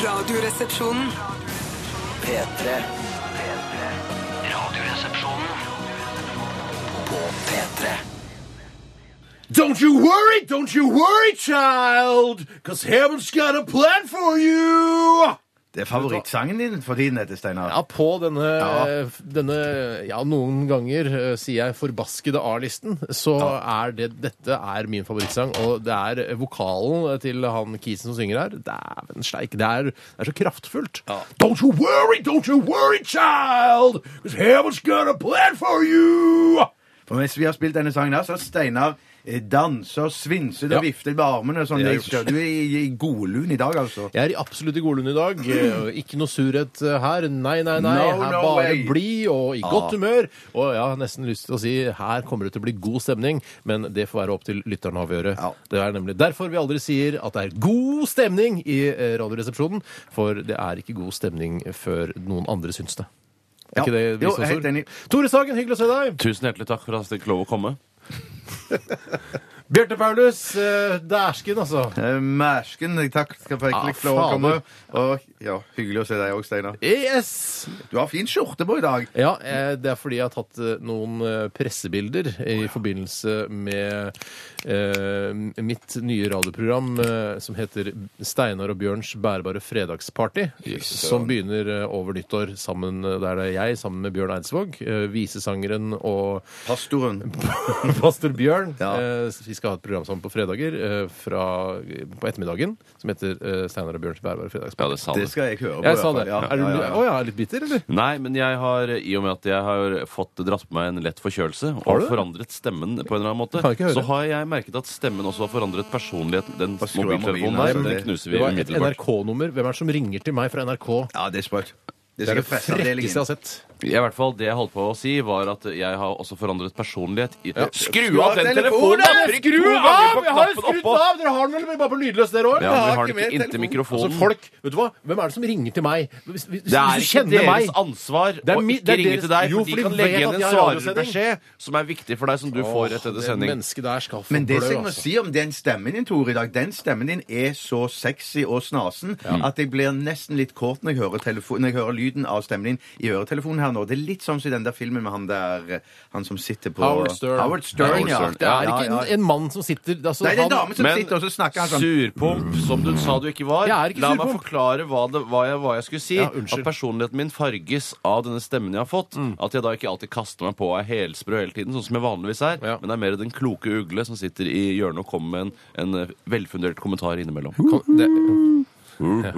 Radioresepsjonen. P3. Radioresepsjonen på P3. Don't you worry, don't you worry, child, cause heaven's got a plan for you! Det er favorittsangen din for tiden, dette, Steinar. Ja, på denne, Ja. denne Ja, noen ganger eh, sier jeg 'forbaskede A-listen', så er det Dette er min favorittsang, og det er eh, vokalen til han Kisen som synger her. Dæven steik. Det er, det er så kraftfullt. Don't you worry, don't you worry, child, cause heaven's got a plan for you! For mens vi har spilt denne sangen her, så har Steinar eh, danser, svinser Ja. og vifter med armene. og Sånn. Det er Jeg jo- skjønner, Du er i, i godlun i dag, altså. Jeg er i absolutt i godlund i dag. Eh, Ikke noe surhet eh, her. Nei, nei, nei. No, her no bare way. Ah. blid og i godt humør. Og jeg har nesten lyst til å si her kommer det til å bli god stemning, men det får være opp til lytterne å avgjøre. Ja. Det er nemlig derfor vi aldri sier at det er god stemning i eh, Radioresepsjonen, for det er ikke god stemning før noen andre syns det. Er Ja. ikke det Jo, visdomsord? helt enig. Tore Sagen, hyggelig å se deg. Tusen hjertelig takk for at jeg fikk lov å komme. Bjarte Paulus, eh, dæsken, altså. Eh, Mersken, takk skal for Ah, ikke få lov å fader. komme. Og, ja, hyggelig å se deg òg, Steinar. E Yes! Du har fin skjorte på i dag. Ja, eh, det er fordi jeg har tatt eh, noen eh, pressebilder i forbindelse med eh, mitt nye radioprogram eh, som heter Steinar og Bjørns bærbare fredagsparty, som begynner eh, over nyttår sammen eh, der det er jeg sammen med Bjørn Eidsvåg, eh, visesangeren og Pastoren. pastor Bjørn. Ja. Eh, vi skal ha et program sammen på fredager eh, fra, på ettermiddagen som heter eh, Steinar og Bjørns bærbare Ja, fredagsparty. det sa du. Det skal jeg høre på. i Jeg hvert sa fall. det. Ja, Er du ja, ja, å ja. ja, er du litt bitter, eller? Nei, men jeg har, i og med at jeg har fått dratt på meg en lett forkjølelse Har du og det? forandret stemmen på en eller annen Kan jeg ikke måte, høre? så har jeg merket at stemmen også har forandret personligheten. Den Bare skru av mobilen, mobiltelefonen altså, der, den det- knuser Det vi var et umiddelbart. NRK-nummer. Hvem er det som ringer til meg fra NRK? Ja, det er sprøtt. Det Det er skal det frekkeste jeg presseavdelingen. har sett. I hvert fall det jeg holdt på å si, var at jeg har også forandret personlighet. I, av Skru av den telefonen! telefonen! Trykk to ganger på knappen oppå. Dere har den vel bare på lydløs, dere òg? Ja, men vi har ikke den ikke mer inntil Altså, mikrofonen. folk, vet du hva? Hvem er det som ringer til meg? Hvis, hvis, Det er hvis du ikke kjenner deres meg ansvar er å mi- ikke det er ringe deres- til deg, Jo, for for de de kan vet legge igjen at en jeg har radiosending. svarerbeskjed som er viktig for deg, som du får etter det sending. mennesket der skal få Men det som blø, jeg må altså. si om den stemmen din, Tore, i dag, den stemmen din er så sexy og snasen at jeg blir nesten litt kåt når jeg, hører telefo- når jeg hører lyden av stemmen din i øretelefonen her nå. Det er litt sånn som i den der filmen med han der eh, Han som sitter på Howard Stern. Howard Stern, Howard ja. Stern. Det er Ja, ikke ja, en, ja. en mann som sitter altså, Nei, det er en han- dame som sitter, og så snakker han sånn. surpomp, som du sa du ikke var Jeg er ikke La meg surpomp. forklare hva, det, hva, jeg, hva jeg skulle si. Ja, unnskyld. Mm. at personligheten min farges av denne stemmen jeg har fått. At jeg da ikke alltid kaster meg på og er helsprø hele tiden, sånn som jeg vanligvis er. Ja. Men det er mer den kloke ugle som sitter i hjørnet og kommer med en, en eh, velfundert kommentar innimellom. Kan, det, ja.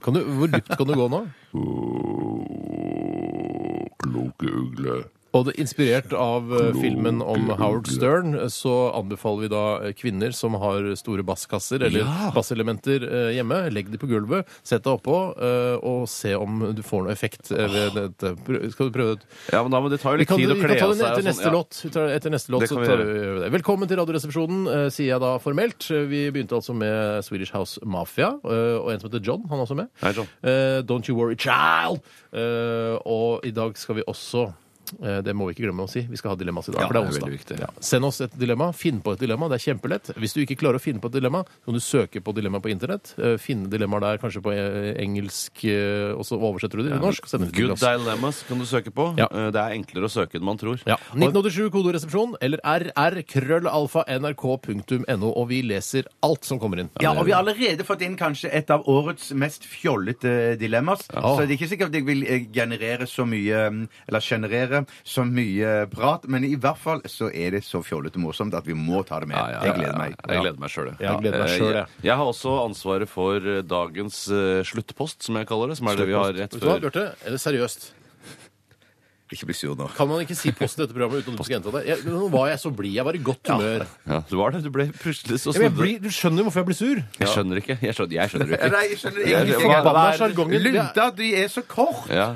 kan du, hvor dypt kan du gå nå? Kloke ugle. Og det, inspirert av eh, filmen om Howard Stern, eh, så anbefaler vi da eh, kvinner som har store basskasser eller basselementer eh, hjemme, legg de på gulvet, sett deg oppå eh, og se om du får noe effekt eh, ved dette. Prø- Skal du prøve det? Ja, men da, men det tar jo Vi litt kan, tid å vi kle kan ta av den seg. etter og sånn, neste ja. låt. Vi tar, etter neste låt Det så kan vi tar vi det. Velkommen til Radioresepsjonen, eh, sier jeg da formelt. Eh, Vi begynte altså med Swedish House Mafia, eh, og en som heter John, han er også med. Hei, John. Eh, Don't You Worry Child! Eh, og i dag skal vi også eh, det må vi ikke glemme å si. Vi skal ha dilemmas i dag. for det er det er onsdag. veldig viktig. Ja. Send oss et dilemma. Finn på et dilemma. Det er kjempelett. Hvis du ikke klarer å finne på et dilemma, så kan du søke på dilemma på internett. eh, Finne dilemmaer der, kanskje på eh, engelsk, eh, og så oversetter du det til norsk. og sender det til Good oss. Dilemmas kan du søke på. Ja. Eh, Det er enklere å søke enn man tror. Ja. 1987 kodoresepsjon eller rr.krøllalfa.nrk.no, og vi leser alt som kommer inn. Ja, og vi har allerede fått inn kanskje et av årets mest fjollete dilemmas. Så det er ikke sikkert at jeg vil eh, generere så mye mm, Eller generere så mye prat, men i hvert fall så er det så fjollete morsomt at vi må ta det med. Ja, ja, Jeg gleder meg. ja, ja. Jeg gleder meg sjøl, Jeg gleder meg selv, ja. jeg. Jeg har også ansvaret for eh, dagens eh, sluttpost, som jeg kaller det. Som er det vi har Vet rett du hva, før. Bjarte? Eller seriøst, Ikke bli sur nå. kan man ikke si post i dette programmet uten at du skal gjenta det? Jeg, nå var jeg så blid. Jeg var i godt humør. Ja, du var det. Du ble plutselig så Ja, men jeg snublet. blir, du skjønner jo hvorfor jeg blir sur. Jeg skjønner ikke. Jeg skjønner, jeg skjønner ikke. Nei, jeg skjønner Ja, det ingenting. var- jeg. Hva hva er- er sjargongen? Det Lunta, de er så kort! Ja,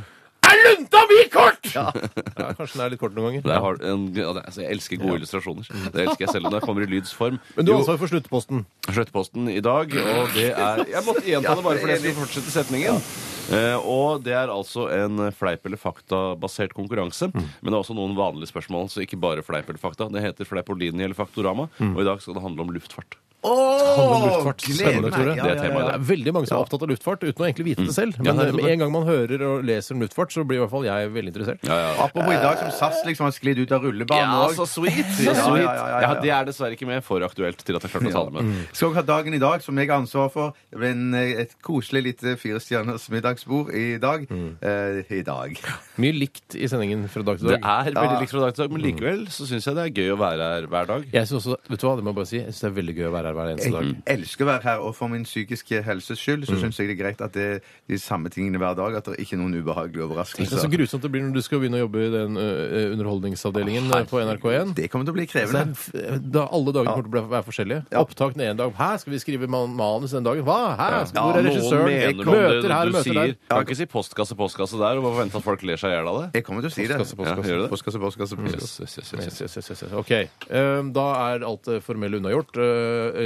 Er lunta mi kort?! Ja. ja, kanskje den er litt kort noen ganger. der har du en, ja, det- altså, jeg elsker gode illustrasjoner. Det elsker jeg selv om det kommer i lydsform. Men du har Jo, ansvar for sluttposten. Sluttposten i dag, og det er Jeg måtte gjenta det bare fordi jeg skulle fortsette setningen. Eh, og det er altså en fleip eller fakta-basert konkurranse. Men det er også noen vanlige spørsmål, så ikke bare fleip eller fakta. Det heter Fleipolini eller Faktorama, og i dag skal det handle om luftfart. handler om Åh, luftfart. gleder Spennende, meg. Tore. Ja, Det ja, er temaet Mm. Det ja, ja. er veldig mange som er opptatt av luftfart uten å egentlig vite det selv. Ja, Men det eh, er nettopp med en gang man hører og leser om luftfart, så blir i hvert fall jeg veldig interessert. Apropos i dag som SAS liksom har sklidd ut av rullebanen Eh. Ja, også. så sweet! Ja, Så sweet. ja, ja, ja, ja. Ja, det er dessverre ikke med for aktuelt til at jeg klarte å ta det med. Skal også ha dagen i dag, som jeg har ansvar for. Det ble en, eh, et koselig lite firestjerners middagsbord i dag. Mm. Eh, I dag. Mye likt i sendingen fra dag til Det dag. er veldig likt fra dag til dag, men likevel så syns jeg det er gøy å være her hver dag. Jeg synes også, vet du hva, det må jeg bare si, jeg synes det er veldig gøy å være her hver eneste dag. Mm. Jeg elsker å være her, og for min psykiske helses skyld Mm. så syns jeg det er greit at det er de samme tingene hver dag. At det ikke er noen ubehagelige Det er så overraskelser. grusomt det blir når du skal begynne å jobbe i den ø, ø, underholdningsavdelingen ø, på NRK1. Det kommer til å bli Så det er krevende. f- Da alle dager kommer til å bli- være forskjellige. Opptak den ene dag. Hæ, skal vi skrive man manus den dagen? Hva? Hæ? Ja, Hvor er regissøren? Noen mener om det Møter her, du møter der. sier. Kan ikke si postkasse, postkasse der og bare forvente at folk ler seg i hjel av det. Jeg kommer til å si det. Postkasse, postkasse. Ja, gjør det? Postkasse, postkasse, postkasse. Yes, yes, yes, yes, Yes, yes. yes, yes, yes, yes. OK. Ehm, Da er alt det formelle unnagjort. Eh, eh,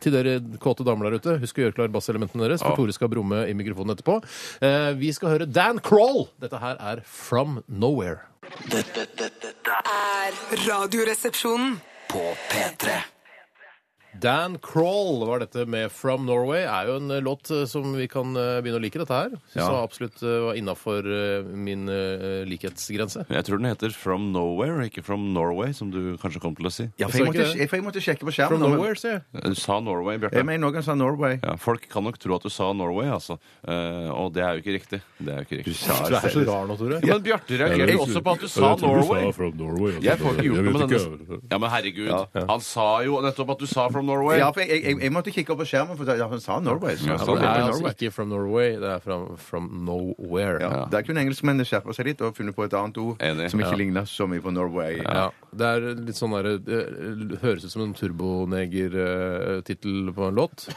Til dere kåte damer der ute, husk å gjøre klar basselementene deres, for Tore skal brumme i mikrofonen etterpå. Eh, Vi skal høre Dan Kroll! Dette her er From Nowhere. Dette, dette, dette er Radioresepsjonen. på P3. Dan Crawl var dette med From Norway. Er jo en eh, låt eh, som vi kan eh, begynne å like, dette her. Syns jeg absolutt eh, var innafor min eh, likhetsgrense. Jeg tror den heter From Nowhere, ikke From Norway, som du kanskje kom til å si. Eh, Ja, Jeg for jeg så måtte, ikke det. for jeg måtte sjekke på skjermen. From nå, men- Nowhere, sier jeg. Du sa Norway, Jeg Bjarte. mener noen sa Norway. Ja, folk kan nok tro at du sa Norway, altså. Eh, og det er jo ikke riktig. Det er jo ikke riktig. Du er så rar nå, Tore. Ja, men Bjarte reagerer jo også på at du sa Norway. altså. Jeg får ikke gjort noe med denne Ja, men herregud. Han sa jo nettopp at du sa From Norway. Ja, for jeg, jeg, jeg måtte kikke opp på skjermen, for ja, hun sa Norway. Så, Ja, Ja, sa men det er Norway. altså ikke From Norway, det er From, from Nowhere. Ja. Der kunne engelskmennene skjerpa seg litt og funnet på et annet ord Enig. som ikke ligner så mye på Norway. Ja, Det er litt sånn der, det høres ut som en turboneger-tittel på en låt.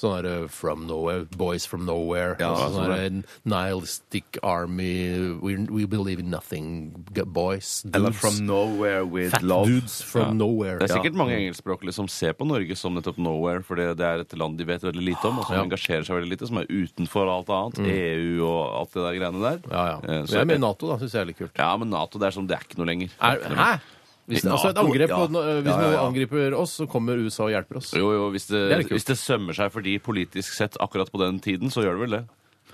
Sånn der eh, From Nowhere, Boys From Nowhere. Ja, altså sånn sånn der, Nihilistic Army, we, we believe in nothing, g- boys. Dudes, Eller From Nowhere With fat Love. dudes from nowhere. Det er sikkert mange engelskspråklige som ser på Norge som nettopp Nowhere, for det det er et land de vet veldig lite om, og som Ja. engasjerer seg veldig lite, som er utenfor alt annet, EU og alt det der greiene der. Ja, ja. Eh, Men Så, Jeg mener Nato, da. Syns jeg er litt kult. ja, men Nato, det er sånn, det er ikke noe lenger. Er, hæ? Hvis, det, altså et NATO, angrep på, ja. no- eh, hvis Ja, ja, ja. noen angriper oss, så kommer USA og hjelper oss. Jo, jo, hvis det, Det er litt kult. hvis det sømmer seg for de politisk sett akkurat på den tiden, så gjør det vel det.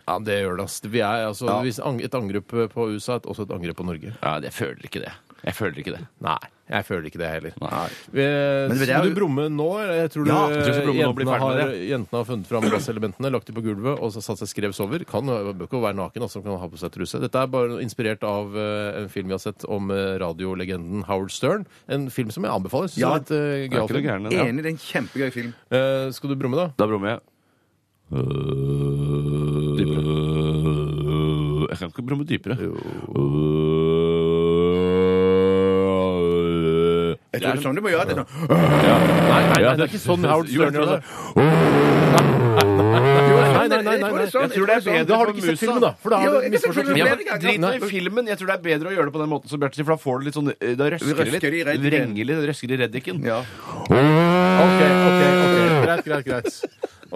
Ja, det gjør det. ass. Vi er, altså, hvis ang- Et angrep på USA er også et angrep på Norge. Ja, jeg føler ikke det. Jeg føler ikke det. Nei, jeg føler ikke det heller. Nei. Eh, Men det er skal jo- du brumme nå? eller? Jeg tror du, Ja, jeg tror jeg skal brumme nå og bli jentene, ferdig med har, jentene har funnet fram basselementene, lagt dem på gulvet og så satt seg skrevs over. Kan jo- bør ikke være naken, altså, kan ha på seg truse. Dette er bare inspirert av eh, en film vi har sett om eh, radiolegenden Howard Stern. En film som jeg anbefaler. Synes Ja, jeg er litt, eh, Det er ikke noe gøyal film. gærent. Ja. Enig, det er en kjempegøy film. Eh, skal du brumme, da? Da brummer jeg. Dypere. Jeg kan ikke brumme dypere. Jeg tror det er sånn du må gjøre det. nå. Nei, nei, Ja, nei, det er ikke sånn Howard Jo, jeg Stern tror gjør det. det. Nei, nei, nei. nei, nei. Jeg tror det er sånn, Jeg tror det er bedre Da har du for ikke sett musa. filmen, da. For da Jo, har du jeg har sett misforstått filmen Ja, filmen. men Drit nå i filmen. Jeg tror det er bedre å gjøre det på den måten som Bjarte sier, for da får du litt sånn eh, Da røsker det litt. Røsker i reddiken. Det vrenger litt, det røsker i reddiken. Ja. Ok, ok, ok. Greit, greit, greit.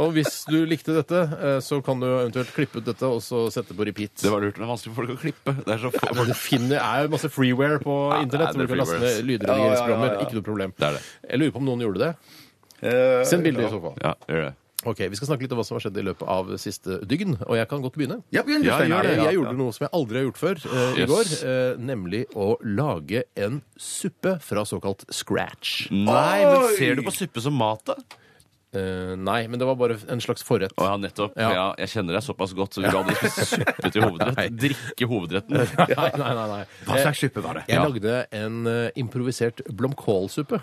Og hvis du likte dette, eh, så kan du eventuelt klippe ut dette og så sette på repeat. Det var lurt. Det er vanskelig for folk å klippe. Det er så få Men du finner, er jo masse freeware på det internett. er hvor du kan laste freeware. ned lydredigeringsprogrammer. Ikke noe problem. Det er det. Jeg lurer på om noen gjorde det. Eh, Send bilde i så fall. Ja, gjør det. Ok, Vi skal snakke litt om hva som har skjedd i løpet av siste dygn. Og jeg kan godt begynne. ja, begynn, Ja, Jostein. gjør det, Jeg, jeg gjorde noe som jeg aldri har gjort før eh, i går, Yes. eh, nemlig å lage en suppe fra såkalt scratch. Nei, men Oi! ser du på suppe som mat, da? Eh, nei, men det var bare en slags forrett. Å ja, nettopp. Ja. Ja. jeg kjenner deg såpass godt, så du vil aldri spise suppe til hovedrett. Drikke hovedretten. Nei, nei, nei, nei. Hva slags suppe var det? Jeg lagde en eh, improvisert blomkålsuppe.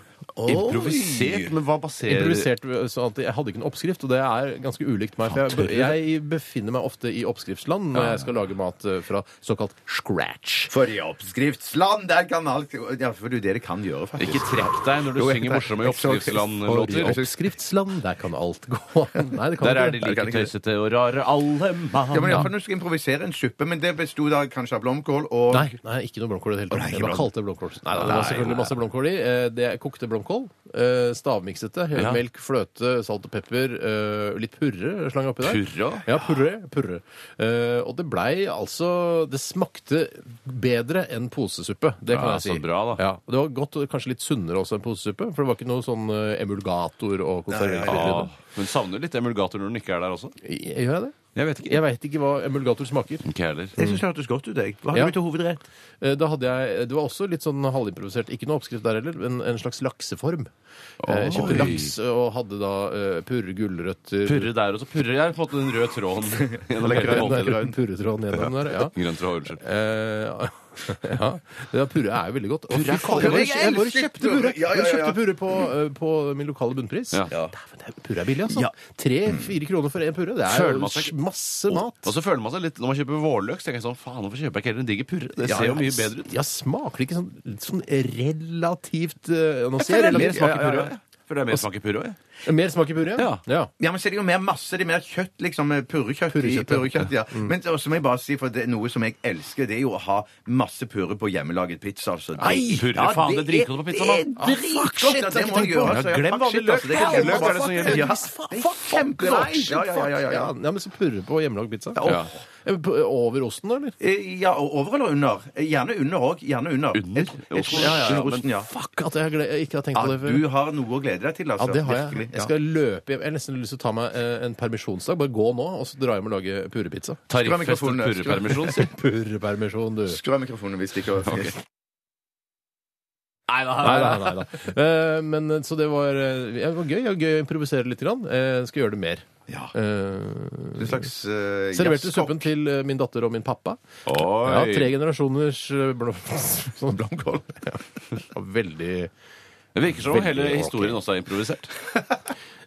Improvisert? Men hva baserer Improvisert sånn at Jeg hadde ikke en oppskrift, og det er ganske ulikt meg. For jeg, jeg befinner meg ofte i oppskriftsland når jeg skal lage mat eh, fra såkalt scratch. For i oppskriftsland, der kan alt Ja, for det er jo det det kan gjøre, faktisk. Ikke trekk deg når du Jo, jeg- synger morsomme jeg så- oppskriftsland-låter. Oppskriftsland mann, der kan alt gå an. Nei, det kan Der ikke er de det. like tøysete og rare, alle mann. Ja, men iallfall når du skal improvisere en suppe, men det besto da kanskje av blomkål og Nei, nei, ikke noe blomkål i det hele tatt. Jeg bare kalte det blomkål. Nei, nei, det var selvfølgelig masse blomkål i. Eh, Det er kokte blomkål, eh, stavmiksete, Ja. melk, fløte, salt og pepper, eh, litt purre slang oppi der. Purre? Ja, purre. purre. Eh, Og det blei altså Det smakte bedre enn posesuppe, det kan Ja, jeg si. så bra, da. Ja, og det var godt og kanskje litt sunnere også enn posesuppe, for det var ikke noe sånn eh, emulgator og konserveringsmidler i Ja, det. men savner litt emulgator når den ikke er der også. Gjør jeg det? Jeg vet ikke. Jeg veit ikke hva emulgator smaker. Ikke jeg heller. Jeg syns det hørtes godt ut, jeg. Hva hadde Ja. du til hovedrett? Eh, Da hadde jeg, Det var også litt sånn halvimprovisert. Ikke noe oppskrift der heller, men en slags lakseform. Eh, Jeg kjøpte Oi. laks og hadde da eh, purre gulrøtter Purre der, og så purrer jeg på en måte den røde tråden gjennom hele grønn- måltidet. grønn purretråden gjennom der. ja. Grønn tråd, unnskyld. Eh, ja. ja, Purre er jo veldig godt. Og Purre er fy faen, jeg bare, godt. jeg bare Jeg elsker kjøpte purre purre. Ja, ja, Jeg ja, ja. kjøpte purre på, eh, på min lokale bunnpris. Ja. Mm. Dæven, det er- Purre er billig, altså. Tre-fire kroner for én purre. Det er Føler jo man seg- altså, masse mat. Og så føler man seg litt, Når man kjøper vårløk, så tenker jeg sånn Faen, hvorfor kjøper jeg ikke heller en digg purre? Det ser jo mye bedre ut. Ja, smaker det ikke sånn, sånn relativt eh, Nå sier jeg Føler jeg mer relativt smaker ja, ja, purre. ja. jeg. Føler jeg mer smaker purre òg, jeg. Mer smak i purre? Ja. Ja, men så er det jo mer masse, det er mer kjøtt, liksom. eh, Purrekjøtt. i- Purrekjøtt, ja. Purrekjøtt, ja. Men så må jeg bare si, for det er noe som jeg elsker, det er jo å ha masse purre på hjemmelaget pizza. Altså. Det- Nei, purre, faen, det er dritgodt på pizza, mann. Det er dritgodt, ja, det må jeg gjøre. altså. Ja, Glem fuck vanlig shit, altså, løk. Det er Helvete, gøy. er det som gjelder? Ja, det er kjempedeilig. Ja, ja, ja, ja, ja. Ja, men så purre på hjemmelagd pizza. Ja, åh. Ja. Eh, på- Over osten, da, eller? Eh, Ja, og over eller under? Eh, Gjerne under òg. Gjerne under. Under? Jeg- jeg tror- Osten, Ja, ja, ja, men- osten, ja. Fuck at jeg gle- jeg ikke har tenkt Ja, på det før. du har noe å glede deg til, Ja, altså. det har jeg. Virkelig, ja. Jeg skal løpe hjem. Jeg har nesten lyst til å ta meg eh, en permisjonsdag. Bare gå nå, og så dra hjem og lage purrepizza. Tariffestet mikrofonen, skru av- purrepermisjon, sier Purrepermisjon, du. Skru av mikrofonen hvis det ikke var Nei da. Nei da, nei da. Eh, Men eh, så det var, eh, ja, det var gøy. Ja, gøy å improvisere litt. Grann. Eh, Skal gjøre det mer. Ja. Eh, En slags uh, Serverte suppen til eh, min datter og min pappa. Ja, tre Oi. generasjoners eh, blom, sånn blomkål. Ja. Og Veldig Det virker som om hele Veldig historien også er improvisert.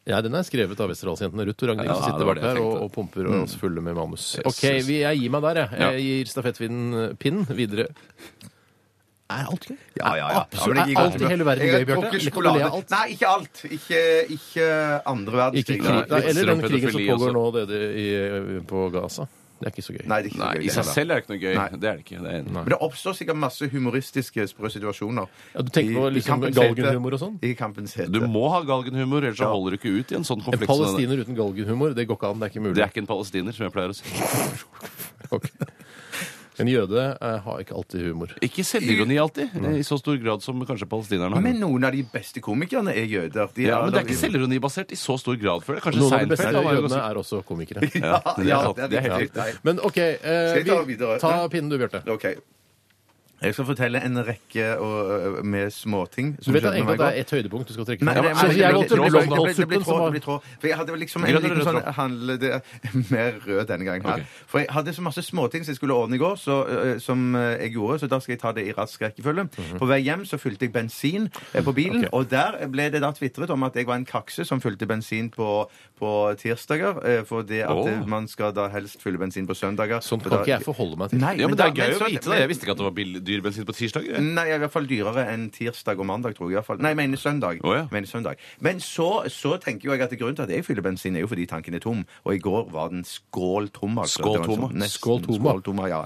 Ja, den er skrevet av Westerdalsjentene Ruth og Ragnhild. Ja, som sitter det var bak det jeg der og, tenkte. Mm. og pumper og er også fulle med manus. OK, yes. vi, jeg gir meg der, jeg. Ja. Jeg gir stafettpinnen eh, pinnen videre. Er alt gøy? Ja, ja, ja. Absolutt. Ja, Er alt men jeg gir godt i humør. hele verden Jeg gøy, Bjarte? plukker Eller kan du le sjokolade. av alt? Nei, ikke alt. Ikke, ikke andre Ikke verdenskrig. krig, Nei, nei, eller den litt krigen som pedofili pågår også. nå det, det, i, eh, på Gaza. Det er ikke så gøy. Nei, det er ikke så Nei, gøy, I det seg heller. selv er det ikke noe gøy. Nei. Det er det ikke. Det er en... Men det oppstår sikkert masse humoristiske sprø situasjoner. Ja, du tenker på I- i liksom kampens hete. galgenhumor og sånn? I kampens hete. Du må ha galgenhumor, ellers så holder du ikke ut i en sånn En konflikt. som denne. palestiner uten galgenhumor, det går ikke an. Det er ikke mulig. Det er ikke en palestiner, som jeg pleier å si. Ok. En jøde eh, har ikke alltid humor. Ikke selvironi alltid, i så stor grad som kanskje palestinerne har. Men noen av de beste komikerne er jøder. De Ja, men det er ikke selvironibasert i så stor grad før. Kanskje Noen av de Seinfeld beste han var jo jødene ganske- er også komikere. Ja, ja, det er helt helt riktig. Men OK, eh, jeg ta det videre? ta pinnen du, Bjarte. OK. Jeg skal fortelle en rekke og, ø, med småting. Du vet at egentlig at det er ett høydepunkt du skal trekke Nei, frem. det- Så eh, det- jeg det- valgte det- det- det- det- det- det- det- blomkålsuppen som det- det- var det- det- For jeg hadde liksom Grønn en eller liten rød sånn tråd? handle det, Mer rød denne gangen. her. For jeg hadde så masse småting som jeg skulle ordne i går, så, øh, som øh, jeg gjorde, så da skal jeg ta det i rask rekkefølge. Mhm. På vei hjem så fylte jeg bensin eh, på bilen, og der ble det da tvitret om at jeg var en kakse som fylte bensin på, på tirsdager, eh, for det at Åh. eh, man skal da helst fylle bensin på søndager. Sånt For kan da- ikke jeg forholde meg til. Nei, Ja, men det er da- gøy å så- Mm. vite det. Jeg visste ikke at det var bill- dyr bensin på tirsdag. jeg. Nei, i hvert fall dyrere enn tirsdag og mandag, tror jeg. i hvert fall. Nei, jeg mener søndag. Å, ja. mener søndag. Men så, så tenker jo jeg at grunnen til at jeg fyller bensin, er jo fordi tanken er tom. Og i går var den skål tom. Altså. Skål Det var en tom, sånn- nesten Skål tom, skål tom, ja.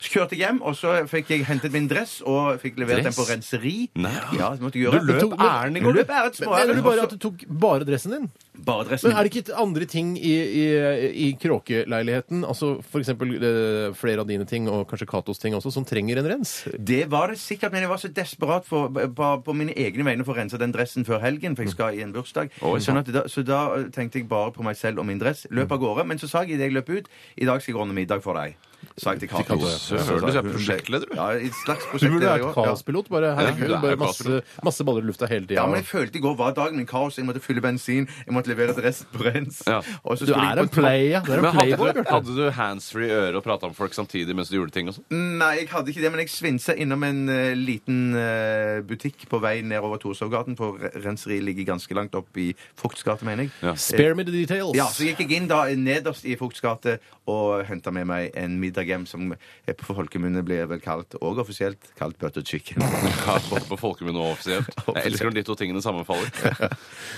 Så kjørte jeg hjem, og så fikk jeg hentet min dress og fikk levert Dress? den på renseri. Nei. Ja, det måtte jeg gjøre. Du løp ærend i går, du. Løp ærend, små Mener du ærend, bare og at du tok bare dressen din? så- Bare dressen. Men er det ikke andre ting i, i, i kråkeleiligheten, altså f.eks. Eh, flere av dine ting og kanskje Katos ting også, som trenger en rens? Det var det sikkert, men jeg var så desperat for, på, på mine egne vegne for å rense den dressen før helgen, for jeg skal i en bursdag. Oi, sant. Sånn at da, så da tenkte jeg bare på meg selv og min dress. Løp av gårde. Men så sa jeg idet jeg løp ut I dag skal jeg ordne middag for deg. Sa jeg til Cato. Cato, ja. Så sa Søren, du er hun- prosjektleder, du. Ja, et slags Du burde prosjektleder. vært ja. kaospilot. Bare, herregud, du er bare jo masse, kaospilot. masse baller i lufta hele tida. Ja, men jeg følte i går var dagen min kaos. Jeg måtte fylle bensin, jeg måtte levere dressen på rens. Ja. Og så Du skulle er jeg på en to- player. Du er Men en playboy, hadde, Bjarte. hadde du handsfree i øret og prata med folk samtidig mens du gjorde ting? og sånn? Nei, jeg hadde ikke det, men jeg svinsa innom en eh, liten eh, butikk på vei nedover Torshovgaten, for re- renseriet ligger ganske langt opp i Fukts gate, mener jeg. Ja. Spare me the details. Ja, så gikk jeg inn da nederst i Fukts gate og henta med meg en Idaghjem, som er på folkemunne blir vel kalt, og offisielt, kalt butter chicken. Både på folkemunne og offisielt. Jeg elsker når de to tingene sammenfaller.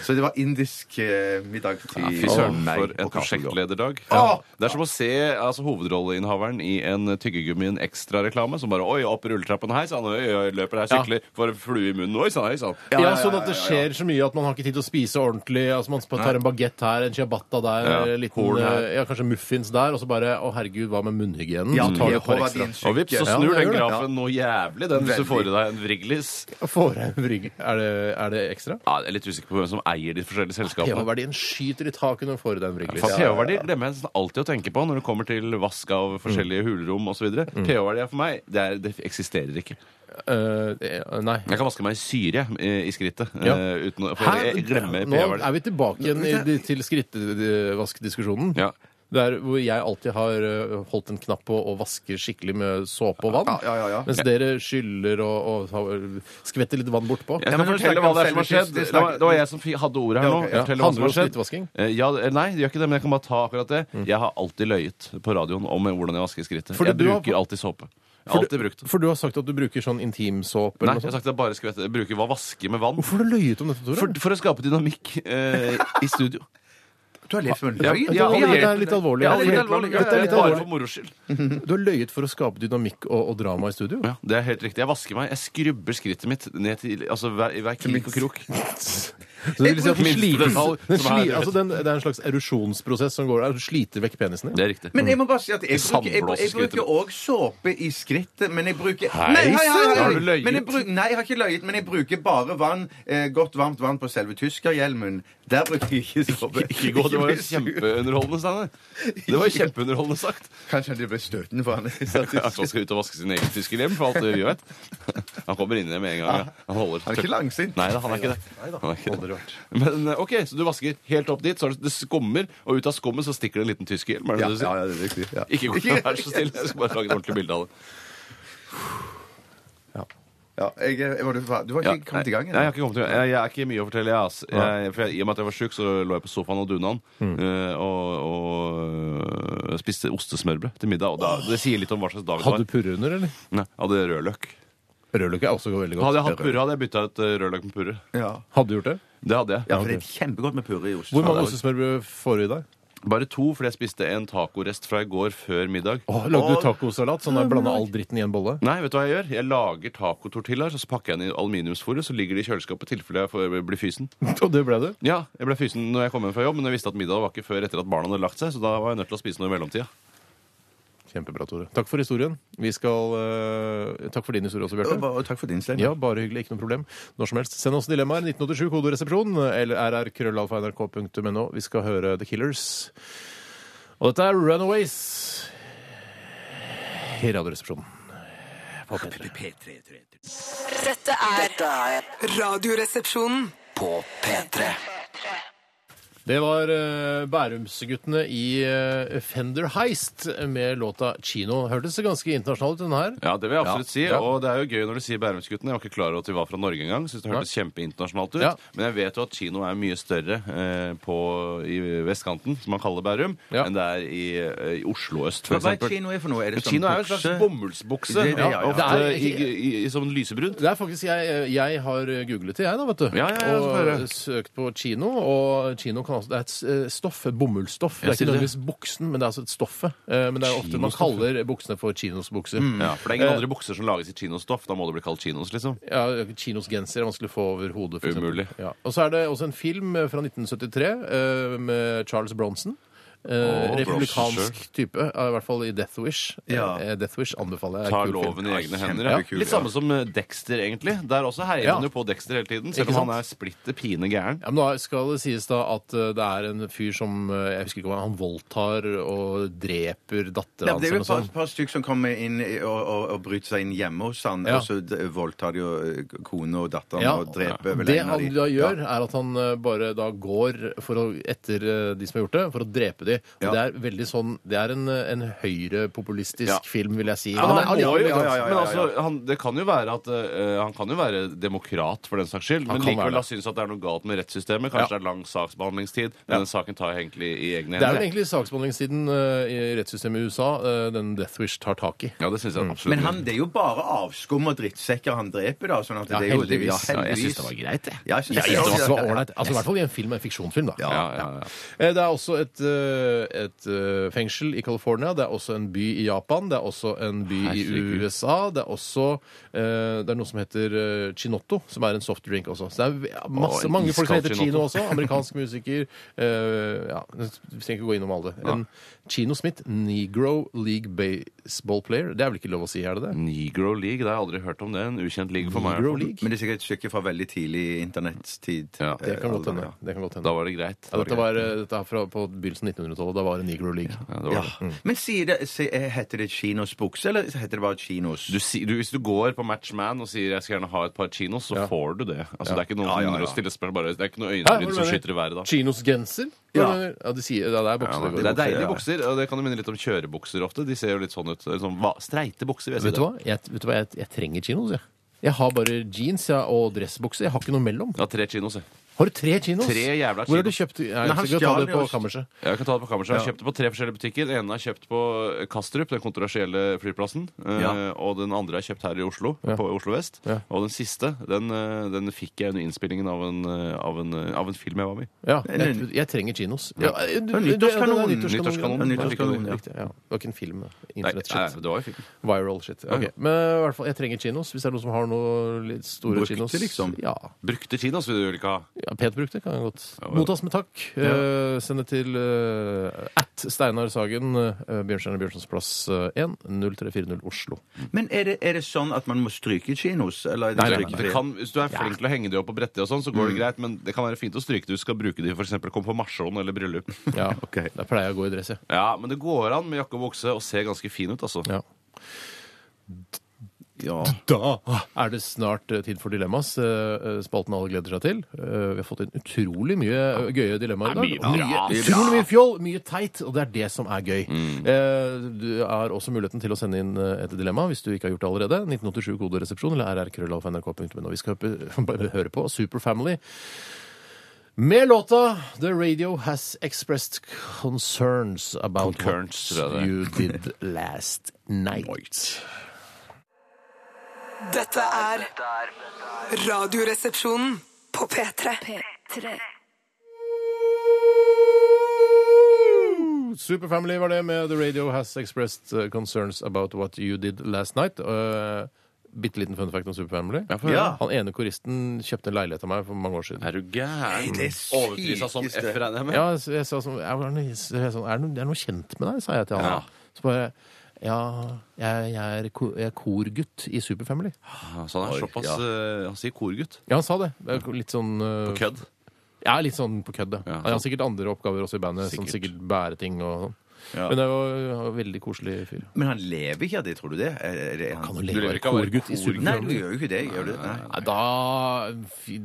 Så det var indisk eh, middag til Fy søren, meg for en og kaffe, da. prosjektlederdag. Det er som å se altså, hovedrolleinnehaveren i en tyggegummien ekstra-reklame som bare Oi, opp rulletrappen, hei sann, oi, oi, løper her, sykler, får en flue i munnen, oi sann, hei sann. Ja, sånn at det skjer så mye at man har ikke tid til å spise ordentlig. Altså Man tar en bagett her, en ciabatta der, Ja, en liten, horn her. eh, ja, kanskje muffins der, og så bare Å, herregud, hva med munnhygienen? Ja, så tar du jeg et par håper ekstra. din Og vips, så Ja, snur det den gjør det. grafen noe jævlig, den, hvis du får i deg en Vriglis. Får jeg en vrigg? Er det, er det ekstra? Ja, jeg er litt usikker på hvem som eier de forskjellige selskapene. ph skyter i taket når du får i deg en vriglis. Faen, pH-verdier glemmer jeg nesten alltid å tenke på når det kommer til vask Mm. av forskjellige hulrom osv. pH-verdier for meg, det, er, det eksisterer ikke. Eh, nei. Jeg kan vaske meg i syre eh, i skrittet. Ja. eh, Uten å, for Hæ? jeg glemmer Nå er pH-verdier. vi tilbake igjen i, de- til skrittvaskdiskusjonen. Ja. Der hvor jeg alltid har eh, holdt en knapp på å vaske skikkelig med såpe og vann. Ja, ja, ja, ja. Mens dere skyller og, og tar- skvetter litt vann bortpå. Jeg Ja, skal men nå fortelle snakker hva vi det om er som selve har skjedd. skrittet. Det var, det var jeg som fi- hadde ordet her Ja, nå. ok, ja. Jeg forteller hva som Handler det om har skjedd. skrittvasking? Eh, Ja, eh, nei, det gjør ikke det, men jeg kan bare ta akkurat det. Jeg har alltid løyet på radioen om hvordan jeg vasker skrittet. Fordi Jeg du har- bruker alltid såpe. Jeg har For alltid brukt det. For du har sagt at du bruker sånn intimsåpe Nei, eller noe sånt. jeg har sagt at jeg bare skvetter. Jeg bruker hva vaske med vann. Hvorfor har du løyet om dette, Tore? For, for å skape dynamikk eh, i studio. Du har levd med en Ja, løgn? ja, det, er, det alliert- er litt alvorlig. Ja, det er litt alvorlig. Dette er litt Bare alvorlig. for moro skyld. Du har løyet for å skape dynamikk og, og drama i studio. Ja, det er helt riktig. Jeg vasker meg. Jeg skrubber skrittet mitt ned til altså, hver, i hver krik og krok. Så det vil si at den Minste sliter, detalj den som er- sli, altså den, det er en slags erosjonsprosess som går der. Du sliter vekk penisen din. Det er riktig. Men jeg må bare si at jeg bruker, jeg, Sandblås i jeg skrittet. bruker også såpe i skrittet, men jeg bruker Hei, Nei, hei, hei, hei. Har du løyet? Men jeg bruk, nei, jeg har ikke løyet, men jeg bruker bare vann, eh, godt varmt vann på selve tyskerhjelmen. Der bruker jeg ikke såpe. Ikke gå, det var jo kjempeunderholdende, Steinar. Det var jo kjempeunderholdende sagt. Kanskje det ble støtende for han. Ja, så skal ut og vaske sin egen tyskerhjem, for alt det vi vet. Han kommer inn i det med en gang. Ja. Han holder Han er ikke langsint. Nei da, han er ikke det. Han er ikke det. Men eh, OK, så du vasker helt opp dit, så er det, det skummer, og ut av skummet så stikker det en liten tyskerhjelm, er det Ja, det du sier? ja, det er riktig. Ja. Ikke gå vær så snill. Jeg skal bare lage et ordentlig bilde av det. Ja, jeg, jeg, var du, var- du var ikke kommet i gang? Nei, jeg har ikke kommet i gang. Jeg, jeg er ikke mye å fortelle, jeg. ass. jeg for jeg, I og med at jeg var sjuk, så lå jeg på sofaen og dunaen Mm. eh, og, og øh, spiste ostesmørbrød til middag. Og da, det sier litt om hva slags dag det Hadde var. du purre under, eller? Nei, jeg hadde rødløk. Rødløk er også veldig godt. Hadde jeg hatt purre, hadde jeg bytta ut eh, rødløk med purre. Ja. Hadde du gjort det? Det hadde jeg. ja, for det er kjempegodt med purre i ost. Hvor mange ostesmørbrød får du i deg? Bare to, fordi jeg spiste en tacorest fra i går før middag. Å, lagde du tacosalat? Sånn at blanda all dritten i en bolle? Nei, vet du hva jeg gjør? Jeg lager tacotortillaer, så pakker jeg den i aluminiumsfolie, så ligger de i kjøleskapet i tilfelle jeg får- blir fysen. Og det ble du? Ja, jeg ble fysen når jeg kom hjem fra jobb, men jeg visste at middagen var ikke før etter at barna hadde lagt seg, så da var jeg nødt til å spise noe i mellomtida. Kjempebra, Tore. Takk for historien. Vi skal eh, Takk for din historie også, Bjarte. Og takk for din, Stein. Ja, bare hyggelig. Ikke noe problem. Når som helst. Send oss dilemmaer. 1987, kodoresepsjon, eller rrkrøllalfa.nrk.no. Vi skal høre The Killers. Og dette er Runaways i Radioresepsjonen. På P3. Dette er Radioresepsjonen. På P3 Det var eh, Bærumsguttene i eh, Fender Heist med låta 'Kino'. Hørtes ganske internasjonal ut, den her. Ja, det vil jeg absolutt Ja, si. ja. Og det er jo gøy når du sier Bærumsguttene. Jeg var ikke klar over at de var fra Norge engang. Synes det hørtes kjempeinternasjonalt ut. Ja. Men jeg vet jo at kino er mye større eh, på, i vestkanten, som man kaller Bærum, Ja. enn det er i, eh, i Oslo øst, for Hva er eksempel. kino er for noe? Er det Kino er jo en slags bukse? bomullsbukse, Det- det- ja, ja. ofte Det er- i, i, i, som lysebrunt. Det er faktisk jeg, eh, jeg har googlet det, jeg, da, vet du. Ja, ja, ja, så får jeg og eh, det. søkt på kino. Og kino kan altså, det er et s- stoff, et bomullsstoff. Det Jeg er ikke sier det. nødvendigvis buksen, men det er altså et stoffe. Eh, Men det er jo ofte man kaller buksene for kinosbukser. Mm, Ja, for det er ingen andre bukser som lages i kinostoff. Da må det bli kalt kinos, liksom. Eh. Ja, kinosgenser er vanskelig å få over hodet. for eksempel. Umulig. Ja. Og så er det også en film eh, fra 1973 eh, med Charles Bronson. Eh, Åh, republikansk Bronson. type, eh, i hvert fall i Death Wish. Ja. Eh, Death Wish anbefaler jeg. Tar Kul film. loven i egne hender. kjempekul, Ja. Litt samme som eh, Dexter, egentlig. Der også heier Ja. man jo på Dexter hele tiden, Ikke selv om sant? han er splitter pine gæren. Ja, men da skal det sies da at eh, det er en fyr som eh, jeg husker ikke hva, han voldtar og dreper dattera Ja, hans eller det er jo noe et par, sånt. par stykker som kommer inn i- og, og, og bryter seg inn hjemme hos han, Ja. og så d- voldtar de jo eh, kone og datteren Ja, og dreper vel det en av han de. da gjør, Ja. er at han eh, bare da går for å, etter eh, de som har gjort det, for å drepe de. veldig. Og Det er veldig sånn Det er en, en høyrepopulistisk Ja. film, vil jeg si. Men, Han han, er må jo, allianselig, ja, ja, altså. ja, men altså, han, det kan jo være at eh, han kan jo være demokrat for den saks skyld, men kan være likevel det. da synes at det er noe galt med rettssystemet. Kanskje Ja. det er lang saksbehandlingstid. Men den saken tar jeg egentlig i egne Det er vel hender. egentlig saksbehandlingstiden eh, i rettssystemet i USA eh, den Death Wish tar tak i. Ja, det synes jeg absolutt. Men han, det er jo bare avskum og drittsekker han dreper, da. Sånn at Ja, det er jo, det- heldigvis. Ja, ja, jeg heldigvis. syns det var greit, jeg. Ja, jeg synes Ja, jeg synes det var også. ålreit. Altså, I hvert fall i en film, en fiksjonsfilm. da. Ja, ja, ja. Eh, Det er også et, eh, et eh, fengsel i California, det er også en by i Japan, det er også en by Herregud. i USA, det er også eh, det er noe som heter eh, Chinotto, som er en softdrink også. Så det er masse, Å, en mange folk som iskald heter Chino Chinotto. også. Amerikansk musiker. eh, ja, Vi trenger ikke gå innom alle. En Chino Smith, Negro League Baseball Player. Det er vel ikke lov å si, er Mm. det det? Negro League, det har jeg aldri hørt om det. En ukjent league for meg. i hvert Negro fall. League? Men det er sikkert et stykke fra veldig tidlig internettid. Ja, Det kan godt Alder, hende. ja. Det kan godt hende. Da var det greit. Ja, dette var, eh, dette er fra, på begynnelsen av 1900-tallet. Da var det Mm. Negro League. Ja, det var det. Ja. Men sier det, si- eh, heter det Kinos bukse, eller heter det bare Kinos? Du, si- du, hvis du går på Matchman og sier 'jeg skal gjerne ha et par chinos', så får du det. Altså, Det er ikke noen Ja, ja, som begynner ja. å stille spørsmål, bare, det er ikke noen Hæ, hva øyenbryn du som mener? skyter i været da. Chinos genser? Ja. Ja. ja, de sier, ja, det er bukser. det Det er går i. deilige bukser, og det kan jo minne litt om kjørebukser ofte. De ser jo litt sånn ut. eller Sånn, hva, streite bukser, vil jeg si. Vet du hva? Jeg, vet du hva? Jeg, jeg trenger chinos, jeg. Jeg har bare jeans ja, og dressbukser. Jeg har ikke noe mellom. Ja, tre chinos, jeg. Har du tre chinos? Tre jævla Hvor har du chinos. kjøpt Nei, han jeg skal ta stjal det på jo- kammerset. Jeg kan ta det på kammerset. Jeg har kjøpt det på tre forskjellige butikker. Den ene er kjøpt på Kastrup, den kontroversielle flyplassen. eh, Ja. Og den andre er kjøpt her i Oslo, på Oslo vest. Ja. Og den siste, den, eh, den fikk jeg under innspillingen av en, eh, av en, eh, av en film jeg var med i. Ja, jeg, jeg trenger chinos. Ja, du- du- du- nyttårskanon. ja, det er Nyttårskanon. Nyttårskanon. Ja, Nyttårskanon, ja. riktig, ja. Det var ikke en film. Nei, nei, Internett-shit. det var jo film. Viral shit. Ok, Men i hvert fall, jeg trenger chinos. Hvis det er noen som har noe litt store Brukte, chinos. liksom. Ja. Brukte chinos vil du vel ikke ha? Ja, Pent brukt, det kan jeg godt. Ja, ja. Mottas med takk. Eh, send det til eh, at Steinar Sagen, eh, Bjørnstjerne Bjørnsons plass eh, 1, 0340 Oslo. Men er det, er det sånn at man må stryke Kinos? Eller er det Nei, nei, nei. strykefri? Det kan, hvis du er flink til å henge det opp på brettet, og sånn, så Mm. går det greit, men det kan være fint å stryke det hvis du skal bruke det i for eksempel konfirmasjon eller bryllup. Ja, Der pleier jeg å gå i dress, jeg. Ja, Men det går an med jakke og bukse og ser ganske fin ut, altså. Ja. Ja. Da er det snart eh, tid for Dilemmas. eh, eh, Spalten alle gleder seg til. Eh, Vi har fått inn utrolig mye eh, gøye dilemmaer i dag. Det er mye bra. Mye- Utrolig mye fjoll, mye teit, og det er det som er gøy. Mm. Eh, Du har også muligheten til å sende inn eh, et dilemma hvis du ikke har gjort det allerede. 1987 koderesepsjon eller rrkrøllalfa.nrk.no. Vi skal høpe- høre på Superfamily. Med låta The Radio Has Expressed Concerns About Concurrence, tror What jeg det er. You Did Last Night. Dette er Radioresepsjonen på P3. P3. Superfamily var det med The Radio Has Expressed uh, Concerns About What You Did Last Night. Uh, Bitte liten fun fact om Superfamily. Ja, få høre. Han ene koristen kjøpte en leilighet av meg for mange år siden. Er du gæren? det Overprisa som F, sykeste. regner jeg med. Ja, så jeg sa sånn, jeg var noe- så jeg sånn er, det noe, 'Er det noe kjent med deg?' sa jeg til han. Ja. Så bare Ja, jeg, jeg, er, ko- jeg er korgutt i Superfamily. Ja, Så han er såpass eh, Han sier korgutt. Ja, han sa det. Det er Litt sånn uh, På kødd. Ja, litt sånn på kødd, ja. Ja, Han har sikkert andre oppgaver også i bandet, som Sikkert. sikkert bæreting og sånn. Men det var, var en veldig koselig fyr. Men han lever ikke av det, tror du det? Er, er det han... Kan jo Du leve lever av ikke av å være korgutt i korgutt. Superfamily. Nei, du gjør jo ikke det. Gjør du det? Nei. Nei, Da,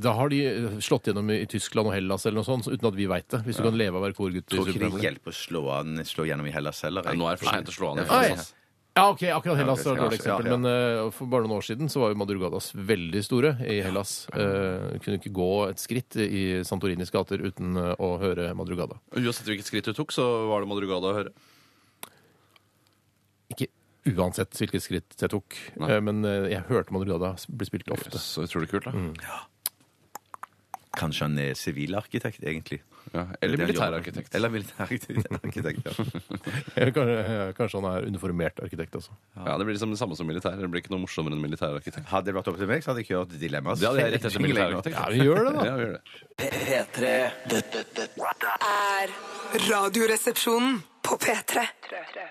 da har de slått gjennom i Tyskland og Hellas eller noe sånt, så- uten at vi veit det. Hvis du kan leve av å være korgutt i Tror ikke det Superfamily. hjelper å slå, an, slå gjennom i Hellas heller. Ja, jeg. nå er det for seint å slå han altså. i Nei. Nei. fjeset. Ja, ok, akkurat Hellas var et dårlig Ja, ja. eksempel, men eh, for bare noen år siden så var jo Madrugadas veldig store i Hellas. Eh, kunne ikke gå et skritt i Santorinis gater uten eh, å høre Madrugada. Uansett hvilket skritt du tok, så var det Madrugada å høre. Ikke uansett hvilket skritt jeg tok, Nei. eh, men eh, jeg hørte Madrugada bli spilt ofte. Så utrolig kult, da. Kanskje han er sivilarkitekt, egentlig. Ja, eller Det er jobben. militærarkitekt. Eller militærarkitekt, ja. Kanskje, kanskje han er uniformert arkitekt, altså. Ja, Det blir liksom det samme som militær. Det blir ikke noe morsommere enn militærarkitekt. Hadde det vært opp til meg, så hadde jeg kjørt dilemma. Det hadde jeg rett etter militærarkitekt. Ja, vi gjør det, da. Ja, vi gjør det. P3. Dette, dette Er Radioresepsjonen på P3. Ja,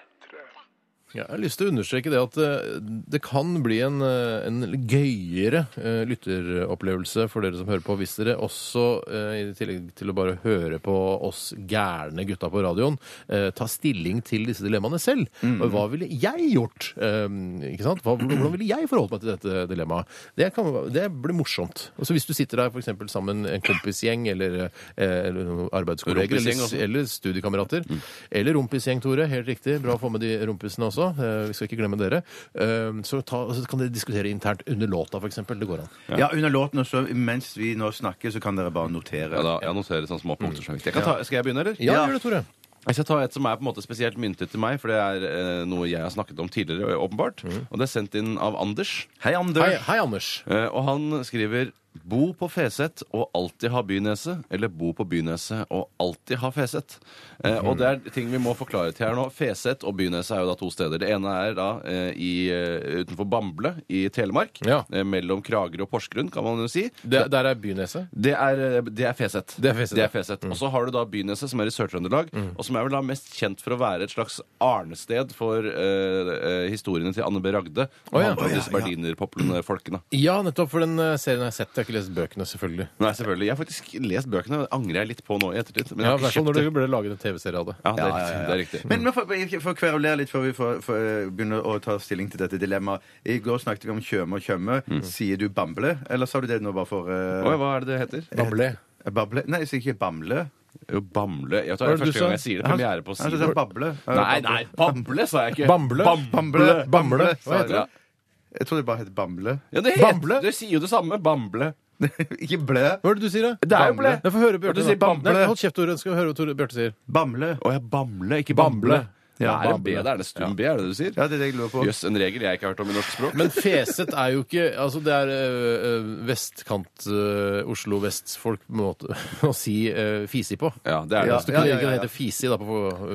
Jeg har lyst til å understreke det at eh, det kan bli en, eh, en gøyere eh, lytteropplevelse for dere som hører på, hvis dere også, eh, i tillegg til å bare høre på oss gærne gutta på radioen, eh, tar stilling til disse dilemmaene selv. Og Hva ville jeg gjort? Eh, Ikke sant? Hva, hvordan ville jeg forholdt meg til dette dilemmaet? Det, kan, det blir morsomt. Og så Hvis du sitter der for eksempel sammen en kompisgjeng eller, eh, eller noen arbeidskolleger Kompisgjeng eller, også. eller studiekamerater. Eller rumpisgjeng, Tore. Helt riktig. Bra å få med de rumpisene også. Eh, Vi skal ikke glemme dere. Eh, Så, ta, så kan dere diskutere internt under låta, f.eks. Det går an. Ja. under låten, og så mens vi nå snakker, så kan dere bare notere. Ja, da, jeg noterer sånn små punkter som er viktige. Jeg kan ta- Skal jeg begynne, eller? Ja, gjør det, Tore. Jeg skal ta et som er på en måte spesielt myntet til meg, for det er eh, noe jeg har snakket om tidligere, åpenbart. Og det er sendt inn av Anders. Hei, Anders. Hei, hei Anders. Eh, Og han skriver Bo på Feset og alltid ha bynese, eller bo på bynese og alltid ha Feset. Eh, Og det er ting vi må forklare til her nå. Feset og bynese er jo da to steder. Det ene er da eh, i, eh, utenfor Bamble i Telemark. Ja. Eh, mellom Kragerø og Porsgrunn, kan man jo si. Det, der er Byneset. Det er, eh, det er Feset. Mm. Det er Feset, ja. Og så har du da Byneset, som er i Sør-Trøndelag, og som er vel da mest kjent for å være et slags arnested for eh, eh, historiene til Anne B. Ragde. Å, Og ja. andre av disse berlinerpoplene folkene. Ja, nettopp. For den eh, serien har jeg sett. Jeg har ikke lest bøkene, selvfølgelig. Nei, selvfølgelig. Jeg har faktisk lest bøkene, det angrer jeg litt på nå i ettertid. Men Ja, jeg I har hvert fall ikke kjøpt når det. det ble laget en TV-serie av det. Ja, det er riktig. Det er riktig. Men vi får, jeg får kverulere litt før vi får, får, eh, begynner å ta stilling til dette dilemmaet. I går snakket vi om Tjøme og Tjøme. Mm. Sier du Bamble, eller sa du det nå bare for eh, Oi, hva er det det heter? Bamble. Bable? Nei, jeg sier ikke Bamble. Jo, Bamble. Jeg Hva tar er det det du første sa? gang jeg sier det. Premiere på Han sa Sivert. Bable. Eh, Nei, Bamble. nei, Bamble sa jeg ikke. Bamble. Bam- Bamble. Bamble. sa jeg. Ja. Jeg tror det bare heter Bamble. Ja, det heter, Bamble. Du sier jo det samme. Bamble. ikke Ble. Hva er det du sier, da? Det er jo ble. Jeg får høre Bjarte. Du sier nå. bamble. Nei, Hold kjeft, Tore. Skal vi høre hva Tore Bjarte sier. Bamble. Å ja, Bamble, ikke Bamble. Bamble. Ja, Ja, er det B Bamble. der? Er det stum B, er det det du sier? Ja, det er det jeg lurer på. Jøss, en regel jeg ikke har hørt om i norsk språk. Men Feset er jo ikke Altså, det er øh, øh, vestkant øh, Oslo vest-folk på en måte å si øh, fisi på. ja, det er Ja. det. Hvis du kunne ja, hete fisi da på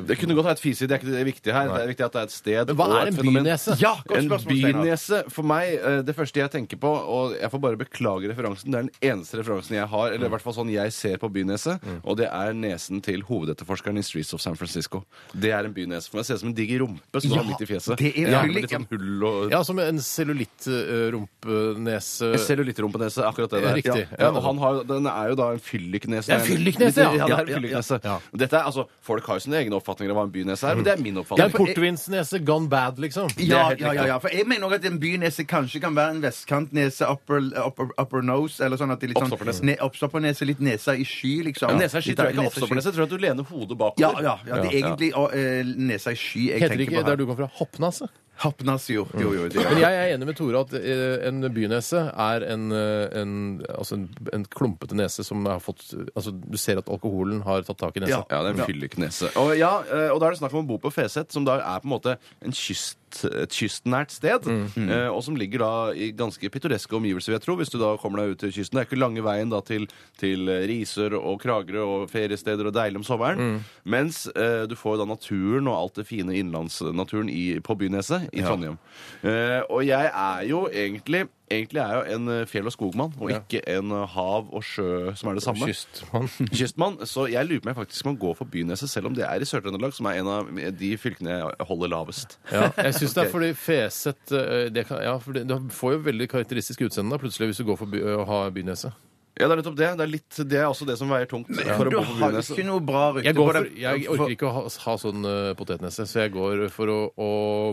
Det kunne godt ha et fisi, det er ikke det viktige her. Det er viktig at det er et sted Men hva og er et en fenomen. bynese? Ja, Godt en spørsmål, Steinar. bynese for meg, eh, det første jeg tenker på, og jeg får bare beklage referansen, det er den eneste referansen jeg har, eller i hvert fall sånn jeg ser på bynese, og det er nesen til hovedetterforskeren i Streets of San Francisco. Det er en bynese for meg. Ser ut som en diger rumpe som Ja, er midt i fjeset. det er Ja, veldig med litt sånn hull og Ja, som en cellulitt-rumpenese. Jeg ser jo litt rumpenese, akkurat det Ja, der. riktig. Ja. Ja, og han har, jo- den er jo da en fylliknese. Ja, en fylliknese, ja. ja! det er Ja, ja, en fylliknese. ja. Dette er, altså, folk har jo sine egne oppfatninger av hva en bynese er, men det er min Det er en oppfatning. portvinsnese gone bad, liksom. Ja, helt ja, ja, riktig. ja, for jeg mener også at en bynese kanskje kan være en vestkantnese, upper, upper, upper nose, eller sånn at det er litt sånn Oppstoppernese. Ne, oppstoppernese, litt nesa i sky, liksom. Ja. Nesa er skitt, tror jeg Litt av- nesa i sky. ikke oppstoppernese. Jeg tror at du lener hodet bakover. Ja, ja, ja, det er Ja. egentlig og, eh, nesa i sky jeg Heter det tenker ikke på der her. du kom fra? Hoppnase? Hapnas, jo. Jo, jo, det Men er. jeg er enig med Tore at eh, en bynese er en, eh, en, altså en, en klumpete nese som har fått Altså, du ser at alkoholen har tatt tak i nesa. Ja. Ja, det er en fylleknese. Og, ja, eh, og da er det snakk om å bo på Feset, som da er på en måte en kyst, et kystnært sted. eh, Og som ligger da i ganske pittoreske omgivelser, vil jeg tro, hvis du da kommer deg ut til kysten. Det er ikke lange veien da til, til Risør og Kragerø og feriesteder og deilig om sommeren. Mens eh, du får jo da naturen og alt det fine innlandsnaturen i, på Byneset i Trondheim. Eh, og jeg er jo egentlig Egentlig er jeg jo en eh, fjell- og skogmann, og ikke en eh, hav og sjø som er det samme Kystmann. kystmann. Så jeg lurer på om jeg faktisk må gå for Byneset, selv om det er i Sør-Trøndelag, som er en av de fylkene jeg holder lavest. Ja, jeg syns det er fordi feset eh, det kan, ja, for det, Du får jo veldig karakteristisk utseende da, plutselig hvis du går for by, å ha bynese. Ja, det er nettopp det. Det er, litt, det er også det som veier tungt for å Du bo har på jo ikke Byneset. noe bra rykte Jeg, går på for, deg. jeg orker ikke å ha, ha sånn eh, potetnese, så jeg går for å, å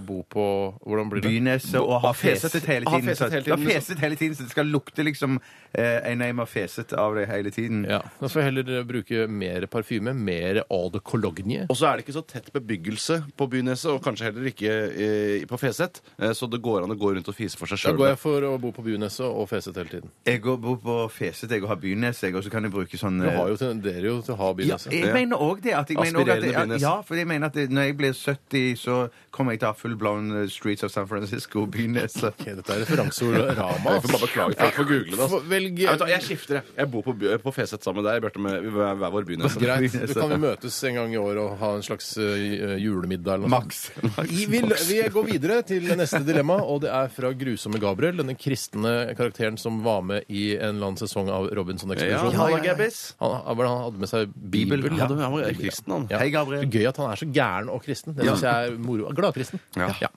bo på Hvordan blir det? Bynese og ha Ha feset. feset hele Ha tiden. feset så- hele Ja, tiden, liksom. feset hele tiden, så det skal lukte liksom eh, en eim av feset av det hele tiden. Ja, Da får jeg heller eh, bruke mer parfyme, mer eau de cologne. Og så er det ikke så tett bebyggelse på Byneset, og kanskje heller ikke eh, på Feset, eh, så det går an å gå rundt og fise for seg Da går sjøl. jeg for å bo på byneset og feset hele tiden. Jeg går bor på feset, jeg og har bynese, jeg, og så kan jeg bruke sånn Du eh, har jo tenderer jo til å ha Ja, eh, byneset. jeg mener òg det. At jeg mener også at Aspirerende jeg, bynese. ja, for jeg mener at det, når jeg blir 70, så kommer jeg til å ha full blown eh, Streets of San Francisco bynese. Ok, dette er referanseordet Rama. Jeg får bare beklage for at jeg får google det. Altså. Få- Velg Jeg, vet, hva, jeg skifter, jeg. Jeg bor på, by- på Feset sammen med deg, Bjarte, med hver hver vår Byneset. Greit. Da kan Altså, vi møtes en gang i år og ha en slags eh, julemiddag eller noe sånt. Maks. Vi, vil, vi går videre til neste dilemma, og det er fra Grusomme Gabriel. Denne kristne karakteren som var med i en eller annen sesong av av Robinson-ekspedisjonen. ja, Ja, Halla, ja. Gabbis. Han, han, hva var det han hadde med seg Bibel. Bibel. Ja, det var- han var kristen, han. Hei, Gabriel. Gøy at han er så gæren og kristen. Det syns jeg er moro. Gladkristen. Ja.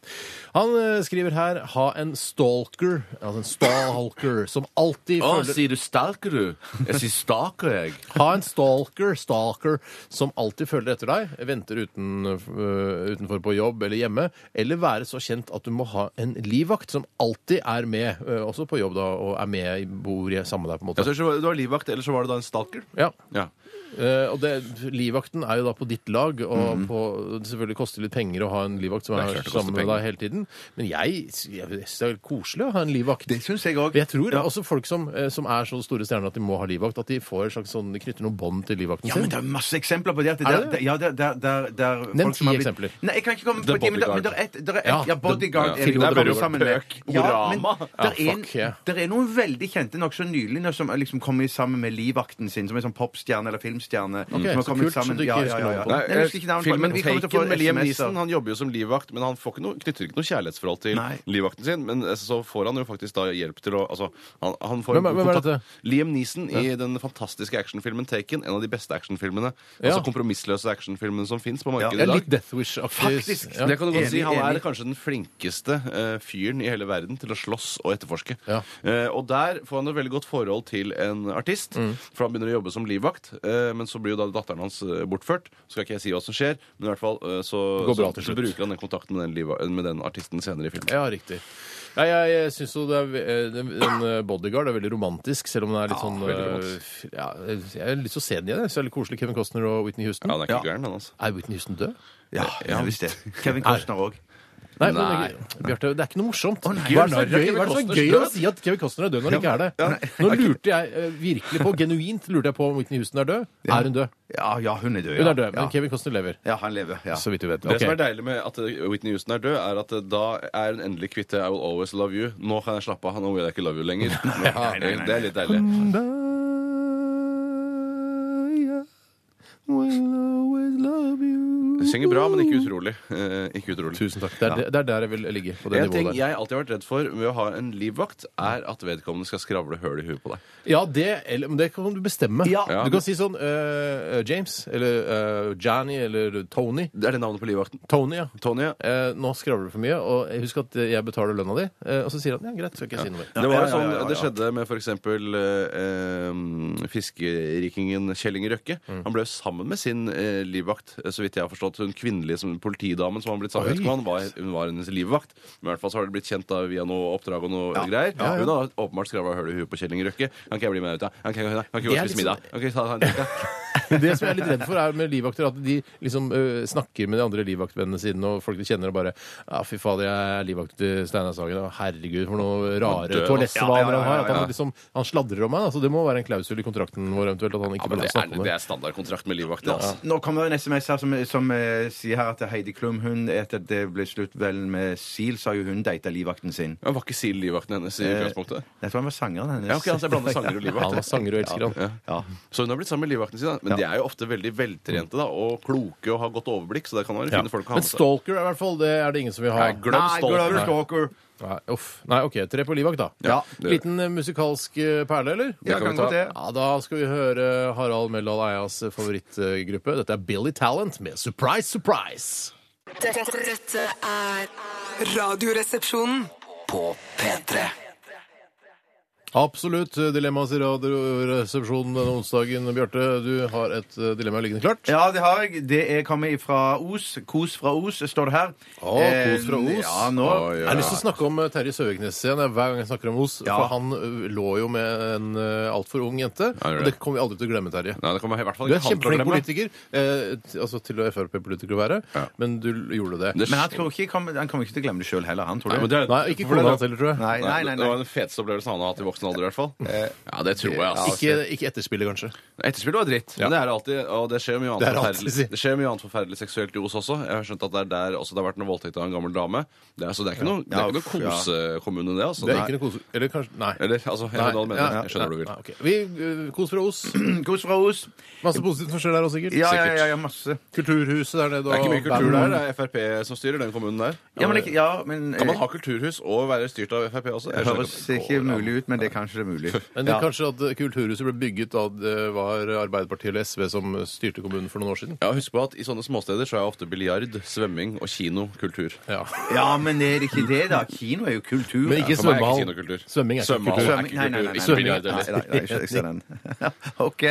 Han eh, skriver her 'ha en stalker', altså en stalker, som alltid Å, følger sier du stalker, du? Jeg sier staker, jeg. Ha en stalker, stalker, som alltid følger etter deg, venter uten, øh, utenfor på jobb eller hjemme, eller være så kjent at du må ha en livvakt som alltid er med, øh, også på jobb da, og er med, i- bor i- sammen med deg på en måte. Altså, så- du var livvakt, eller så var det da en stalker? Ja, Ja. øh, og det, livvakten er jo da på ditt lag, og på, det selvfølgelig koster litt penger å ha en livvakt som Mhm. er, Det er klart det koster sammen med penger. deg hele tiden, men jeg, jeg synes det er koselig å ha en livvakt. Det syns jeg òg. Jeg tror også folk som, øh, som er så store stjerner at de må ha livvakt, at de får en slags sånn, de knytter noen bånd til livvakten Ja, sin. men det er masse eksempler på det. At det Er det der- det? Ja, der, der, der, der Nevn folk som ti har blitt- eksempler. Nei, jeg kan ikke komme på The ti, men der, men der Bodyguard. er et der er, Ja, et- ja, The- Bodyguard ja. er det Der godt burde å jo sammen med. Pøk, Ja, men Orama. der Ja, er, fuck, ja. der er noen veldig kjente nokså nylig nå som liksom kommer sammen med livvakten sin, som er sånn popstjerne eller filmstjerne. som har så kult, kommet så sammen- du ikke ja, ja, husker ja, ja. navnet på Nei, den. jeg husker ikke navnet på den, filmen men vi kommer til å få Taken med Liam SMS-er. Neeson han jobber jo som livvakt, men han får ikke noe, knytter ikke noe kjærlighetsforhold til Nei. livvakten sin. Men eh, så får han jo faktisk da hjelp til å altså, han, han får Hvem er- god hvem er kontakt. dette? Liam Neeson i den fantastiske actionfilmen Taken. En av de beste actionfilmene. Ja. Altså kompromissløse actionfilmene som fins på markedet Ja, i dag. litt Death Wish-aktig. Faktisk. Ja. Det kan du godt Enig, si. Han er enig. kanskje den flinkeste eh, fyren i hele verden til å slåss og etterforske. Ja. Eh, og der får han et veldig godt forhold til en artist, Mm. for han begynner å jobbe som livvakt. eh, men så blir jo da datteren hans eh, bortført. Så skal ikke jeg si hva som skjer, men i hvert fall eh, så, Det går bra så, til så slutt. bruker han den kontakten med den, livva- med den artisten senere i filmen. Ja, riktig. Nei, jeg, jeg syns jo det er eh, den, den eh, Bodyguard er veldig romantisk, selv om den er litt sånn veldig eh, f- ja, Jeg har lyst til å se den igjen. jeg. Så er det litt koselig Kevin Costner og Whitney Houston. Ja, han er ikke gæren, han, altså. Er Whitney Houston død? Ja, ja, visst det. Kevin Costner òg. Nei, men det er ikke- Bjarte, det er ikke noe morsomt. Hva er det som er Nei, gøy, hva er Kevin det som er Costner gøy død? å si at Kevin Costner er død når han ikke er det? Nå lurte jeg eh, virkelig på, genuint lurte jeg på om Whitney Houston er død. Er hun død? Ja, ja, hun er død. Hun ja. er død, Ja. men Kevin Costner lever. Ja, han lever. ja. Så vidt vi vet. Det som Ok. er deilig med at eh, Whitney Houston er død, er at eh, da er hun endelig kvitt det, I will always love you. Nå kan jeg slappe av. Nå will I ikke love you lenger. nei, nei, nei. Det er litt deilig. Synger bra, men ikke utrolig. Eh, ikke utrolig. Tusen takk. Det er, det er der jeg vil ligge. på det En ting nivået der. jeg alltid har vært redd for ved å ha en livvakt, er at vedkommende skal skravle høl i huet på deg. Ja, det, eller, men det kan du bestemme. Ja. Du kan si sånn eh, James eller eh, Johnny eller Tony. Det er det navnet på livvakten. Tony, ja. Tony, ja. Eh, nå skravler du for mye, og husk at jeg betaler lønna di. Eh, og så sier han ja, greit, skal ikke jeg si noe mer. Det var jo ja, sånn ja, ja, det ja. skjedde med f.eks. Eh, fiskerikingen Kjell Inge Røkke. Mm. Han ble jo sammen med sin eh, livvakt, eh, så vidt jeg har forstått. Hun kvinnelige som, politidamen som han blitt sammen med. Jeg vet ikke om han var- Hun var hennes livvakt. Men i hvert fall så har det blitt kjent da, via noe oppdrag og noe greier. Hun har åpenbart skravla høl i huet på Kjell Inge Røkke. Kan ikke jeg bli med ut, da? Kan ikke, kan ikke vi Det er gå og spise litt sånn- middag? Kan ikke vi ta ta en drink, da? Det som jeg er litt redd for, er med livvakter at de liksom eh, snakker med de andre livvaktvennene sine, og folk de kjenner, og bare Ja, fy fader, jeg er livvakt til Steinar Sagen. og Herregud, for noen rare død, altså. toalettvaner ja, ja, ja, han har. At ja. han, liksom, han sladrer om meg. Altså, det må være en klausul i kontrakten vår eventuelt at han ikke Ja, men får lov til å det er, snakke om det det. er standardkontrakt med livvakt. det, Altså. Nå kommer det en SMS her som, som eh, sier her at Heidi Klum hun etter at det ble slutt vel med SIL, sa jo hun data livvakten sin. Ja, Var ikke Sil livvakten hennes Eh, i utgangspunktet? Jeg tror han var sangeren hennes. Ja, ok, altså jeg blander sanger og Han livvakt. var sanger og elsker han. Ja. Så hun har blitt sammen med livvakten sin, da. men de er jo ofte veldig veltrente da, og kloke og har godt overblikk. Så det kan være Ja. fine folk å ha Men med seg. stalker er i hvert fall det er det ingen som vil ha. Nei, glem Nei, stalker. Glad Stalker. Nei, uff. Nei, OK. Tre på livvakt, da. Ja, det- Liten eh, musikalsk eh, perle, eller? Ja, kan kan vi godt ta. det. Ja, Da skal vi høre Harald Meldal Eias favorittgruppe. Dette er Billy Talent med Surprise Surprise. Dette, dette er Radioresepsjonen. På P3. Absolutt. Dilemmas i Radioresepsjonen denne onsdagen. Bjarte, du har et eh, dilemma liggende klart. Ja, det har jeg. Det er kommet fra Os. Kos fra Os, står det her. Å, kos fra Os. Eh, Ja, nå. Oi, Jeg har lyst til å snakke om eh, Terje Søviknes igjen jeg, hver gang jeg snakker om Os. Ja. For han eh, lå jo med en eh, altfor ung jente. gjør og det. det kommer vi aldri til å glemme, Terje. Nei, det kommer i hvert fall Du er en ikke han til å kjempeflink glemme. politiker, eh, t- altså til å være Frp-politiker å være, Ja. men du l- gjorde det. Det- Men han tror ikke, han kommer ikke til å glemme det sjøl heller, han, tror Nei, men du? det er- Nei, ikke for det er- kona hans heller, tror jeg. Nei, nei, nei. Det var nei. den feteste opplevelsen han har hatt i voksen alder. i hvert fall Ja, det tror jeg, ass. Ikke, ikke etterspillet, kanskje. Etterspillet var dritt, men det er alltid Og det skjer mye annet, Det er alltid, forferdelig, si. det skjer mye annet forferdelig seksuelt i Os også. Jeg har skjønt at det er der også det har vært noe voldtekt av en gammel dame. Det er, så det er ikke noe, det er ikke noe Ja, uff, kosekommune, det. Altså. Det er ikke noe kos... Eller kanskje Nei. Eller, altså, jeg skjønner hva du mener. ja, Jeg skjønner hva du vil. nei, ok. Vi eh, Kos fra Os. Kos fra Os. Masse positivt som skjer der også, sikkert. Ja, ja, ja, ja masse. Kulturhuset der nede og Det er ikke mye kultur bandet. der. Det er Frp som styrer den kommunen der. Ja, men, ikke- ja, men Kan man eh, ha kulturhus og være styrt av Frp også? Det høres ikke mulig ut, men det kanskje det er mulig. Men det, Ja. kanskje at eh, Kulturhuset ble bygget da det var Arbeiderpartiet eller SV som eh, styrte kommunen for noen år siden? Ja, Husk på at i sånne småsteder så er ofte biljard, svømming og kino kultur. Ja. Ja, men er det ikke det, da? Kino er jo kultur. Men ikke for meg er ikke svømmehall. kinokultur. Svømming er ikke Svømmehall. kultur. Svømming- Nei, nei, nei. nei, Ikke nei, biljard heller. Nei, nei, jeg ser den. OK.